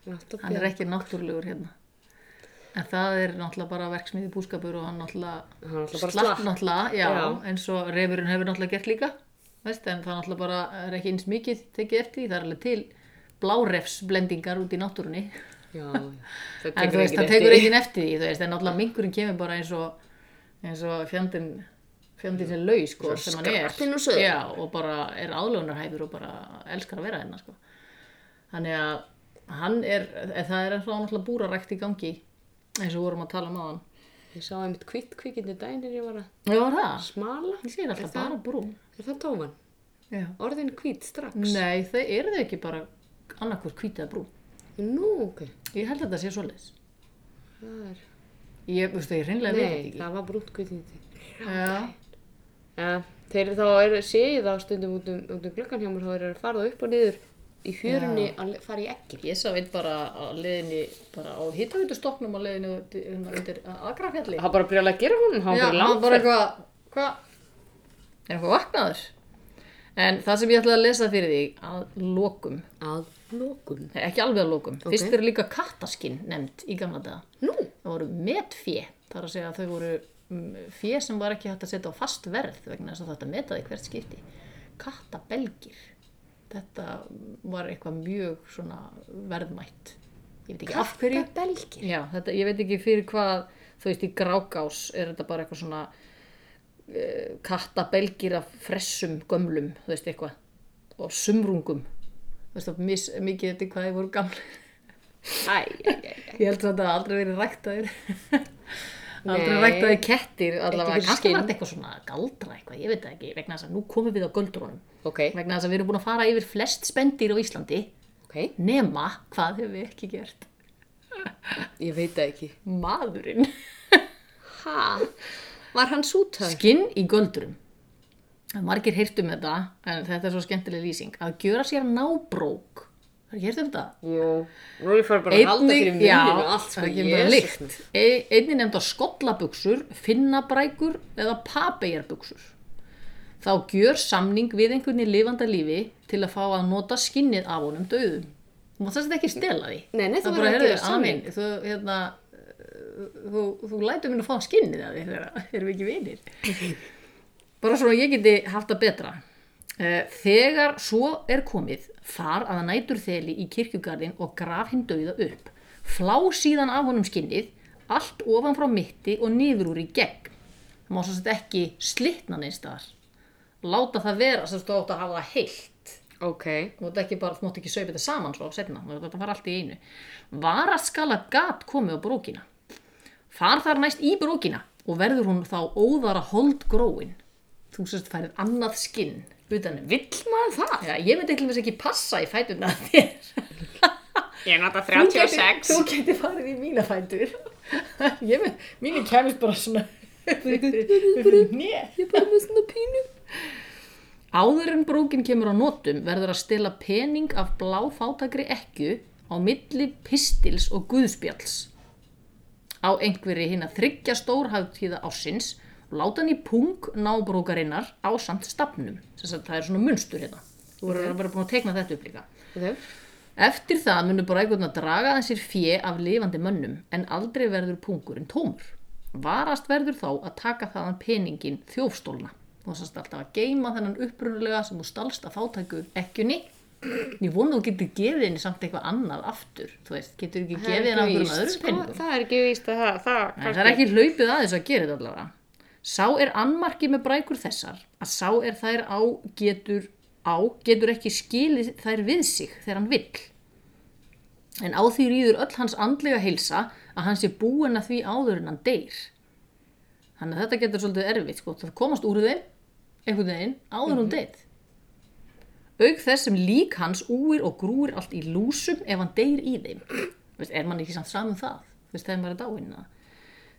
E: hann er
D: Hann
E: ekki náttúrulegur hérna en það er náttúrulega bara verksmiði búskapur og hann náttúrulega
D: Hann náttúrulega bara slapp.
E: náttúrulega, já,
D: Já.
E: eins og reyfurinn hefur náttúrulega gert líka veist, en það náttúrulega bara er ekki eins mikið tekið eftir því, það er alveg til blárefsblendingar út í náttúrunni
D: Já, já, það
E: en þú
D: tekur
E: veist,
D: ekki
E: það tekur
D: eftir
E: ekki eftir því þú veist, en náttúrulega mingurinn kemur bara eins og eins og fjandinn fjandinn sem laus, sko, sem hann er
D: skrattinn úr sauðinum.
E: já, og bara er aðlunarhæfur og bara elskar að vera hérna, sko þannig að hann er eh, það er ennþá náttúrulega búrarækt í gangi eins og við vorum að tala um aðan
D: Ég sá einmitt kvitt kvikindi dænir ég var að
E: já, var það,
D: smala
E: ég segir alltaf bara brún
D: Er það tófan?
E: já.
D: Orðin kvít strax?
E: nei, þau eru þau ekki bara annarkur hvítið brún
D: Nú, ok
E: ég held að þetta sé svoleiðis
D: Það er
E: ég, veistu, ég reynlega veit
D: Nei,
E: þetta
D: það var brúnt kvítindi
E: ekki já,
D: Já, þeir þá er, sé ég það stundum út um, út um glöggan hjá mér þá er að fara það upp og niður í fjörunni að le- fara í ekki
E: Ég sá einn bara á leiðinni, bara á hittavitustoknum á leiðinni út- hérna undir Agrafjalli.
D: Það bara brjálega að gera hún, það
E: Já,
D: var
E: hann
D: bara
E: bara eitthvað, hvað, er eitthvað vaknaður? En það sem ég ætlaði að lesa fyrir þig að lokum,
D: langt Að lókun
E: nei, ekki alveg að lokum, fyrst eru líka kattaskinn nefnd í gamla daga.
D: Nú,
E: Það voru metfé, þar að segja að þau voru mm, fé sem var ekki hægt að setja á fast verð vegna þess að þetta metaði hvert skipti. Kattabelgir, þetta var eitthvað mjög svona verðmætt. Ég veit ekki af hverju.
D: það belgir
E: Já, þetta, ég veit ekki fyrir hvað, þú veist, í grákás er þetta bara eitthvað svona uh, kattabelgir af fressum gömlum, þú veist, eitthvað, og sumrungum, þú veist, það mis, mikið eftir hvað þið voru gamli.
D: Æ, æ, æ, æ.
E: Ég held samt að það aldrei verið ræktaðir. aldrei
D: Nei.
E: ræktaðir kettir, allavega,
D: fyrir
E: kannski
D: skinn.
E: var þetta eitthvað svona galdra eitthvað, ég veit það ekki, vegna þess að nú komum við á göldrónum,
D: Ok,
E: vegna þess að við erum búin að fara yfir flest spendýr á Íslandi,
D: ok,
E: nema hvað hefur við ekki gert?
D: ég veit það ekki
E: Maðurinn.
D: Ha, var hann sútaður?
E: skinn í göldrum margir heyrt um þetta en þetta er svo skemmtileg lýsing að gjöra sér nábrók það er heyrt um þetta
D: Jú, nú er ég fara bara að halda fyrir muninu og allt sko,
E: það kemur bara
D: Jesus.
E: líkt e, einni nefnd á skollabuxur finnabrækur eða papegjarbuxur þá gjör samning við einhvern í lifanda lífi til að fá að nota skinnið af honum döðum þú mátt þess að ekki stela því
D: Nei, nei, þú
E: Það
D: verður að
E: heyrðu,
D: gera samning.
E: amen, þú, hérna, þú, þú lætur mér að fá skinnið af því þegar erum við ekki vinir bara svona ég geti haft það betra Eh, þegar svo er komið far að nætur þeli í kirkjugarðin og graf hinn dauða upp flá síðan af honum skinnið allt ofan frá mitti og niður úr í gegn það má svo sett ekki slitna neins þar láta það vera sem þú átt að hafa það heilt
D: Ok,
E: þú mátt ekki bara, þú mátt ekki saupa þetta saman svo setna, þetta fara allt í einu varaskala gat komið á brókina Far þar næst í brókina og verður hún þá óðara holdgróin. Þú sérst færið annað skinn. Utan, vill maður það? Já, ég myndi eitthvað ekki passa í fætuna þér.
D: Ég nota
E: Þú gæti- Þú geti farið í mína fætur. ég með, mínu kemist bara svona fyrir nýja.
D: Ég er bara með svona pínu.
E: Áður en brókin kemur á notum verður að stela pening af bláfátakri ekju á milli pistils og guðspjalls. Á einhverju hinn að þryggja stórhæðtíða ásins og láta hann í pung nábrókarinnar á samt stafnum. Þess að það er svona munstur hérna. Þú verður að vera búin að teikna þetta upp líka.
D: Okay.
E: Eftir það munur brækurnar draga þessir fjö af lifandi mönnum en aldrei verður pungurinn tómur. Varast verður þá að taka þaðan peningin þjófstólna. Þú þessast alltaf að geima þennan upprunulega sem þú stalst að fátæku ekkjunni. Ég vonu þú getur gefið henni samt eitthvað annað aftur. Þú veist, getur ekki gefið henni af hverjum öðrum peningum.
D: Það er ekki víst að það, það,
E: En það er ekki hlaupið aðeins að gera þetta allavega. Sá er annmarki með brækur þessar að sá er þær á getur á getur ekki skilið þær við sig þegar hann vill. En á því rýður öll hans andlega heilsa að hann sé búin að því áður en hann deyr. Þannig að þetta getur svolítið erfitt sko, það komast úr þeim einhvern veginn áður en hún deyð. Auk þess sem lík hans úir og grúir allt í lúsum ef hann deyr í þeim. Veist, er mann ekki samt saman það? Veist, þegar maður er dáinn að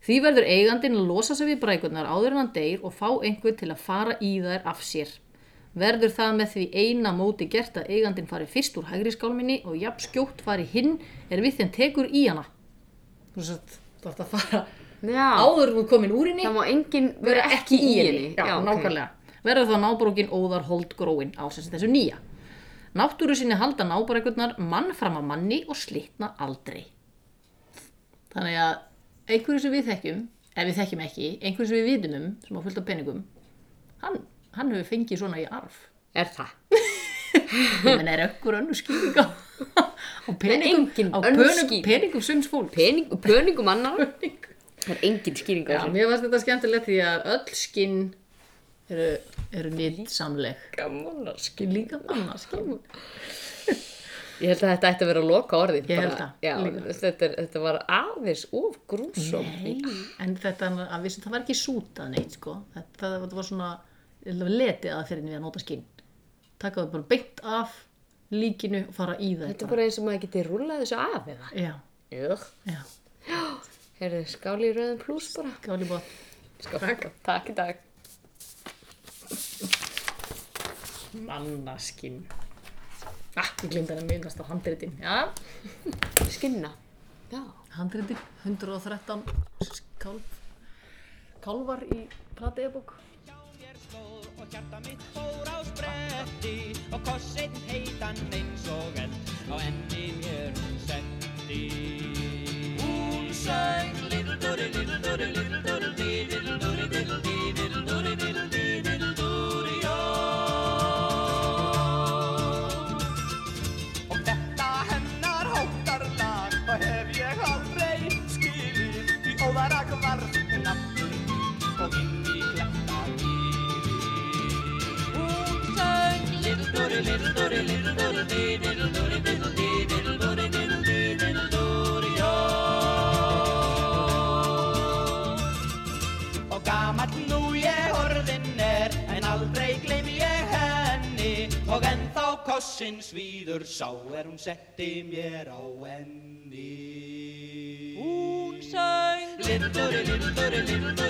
E: Því verður eigandin að losa sig við brækurnar áður en hann deyr og fá einhver til að fara í þær af sér. Verður það með því eina móti gert að eigandin fari fyrst úr hægri skálminni og jafn skjótt fari hinn er við þeim tekur í hana. Þú veist að þú ætti að fara
D: Já,
E: áður en þú komin úr henni,
D: það má enginn vera ekki í henni.
E: Já,
D: ok.
E: nákvæmlega. Verður þá nábrókin óðar hold gróin á sem sagt þessu nýja. Náttúru sinni halda nábrækurnar mann fram að manni og slitna aldrei. Þannig að einhverju sem við þekkjum, ef við þekkjum ekki, einhverju sem við vitum um, sem á fullt af peningum, hann, hann hefur fengið svona í arf.
D: Er það?
E: Ég menn er ökkur önnur skýring á, á peningum,
D: engin
E: á
D: önnur
E: pönum,
D: skýring.
E: peningum sums fólk.
D: Pening, pöningum annar? það er engin skýring á
E: Já,
D: þessu.
E: mér varst þetta skemmtilegt því að öll skinn eru, eru nýtt samleg. Gamanarskinn. Líka mannarskinn.
D: Ég held að þetta ætti að vera loka orðin.
E: Ég
D: bara.
E: held það,
D: Já, þetta, er- þetta var aðeins of grúsum.
E: Nei, en þetta að við sem það var ekki sútað neitt sko. þetta, það, var svona ég held að við letið að fyrir við að nota skinn taka það bara beint af líkinu og fara í það
D: Þetta er bara eins og maður geti rúlað þessu af eða.
E: Já,
D: Jög.
E: já,
D: Herðu, skáli í rauðum pluss bara.
E: gáli bótt
D: Skál. Takk í dag.
E: Mannaskinn Ah, ég glemd hann að minnast á handritin Já,
D: Skinna. Já.
E: handritin, 113 kálf kálfar í plateðabók
A: mér stóð og hjarta mitt fór á spretti og kossinn heitan eins og eld á enni mér hún setti Hún söng Little Dory, Little Dory, Little Dory Dee, Little Dory, Little Dee, Little Dory, Little Dee, Little Dory Ó Og þetta hennar hóttarlag og hef ég aldrei skilið Því óðarag var nafnum og inn í kletta Hún sang Little Dory, Little Dory, Little Dory Dee, Little Dory, Little Dee, Little Dory, Little Dee, Little Dory Ó og gamall nú ég orðin er en aldrei gleym ég henni og ennþá kossin svíður sá er hún setti mér á enni Hún söng Little Dory, Little Dory, Little Dory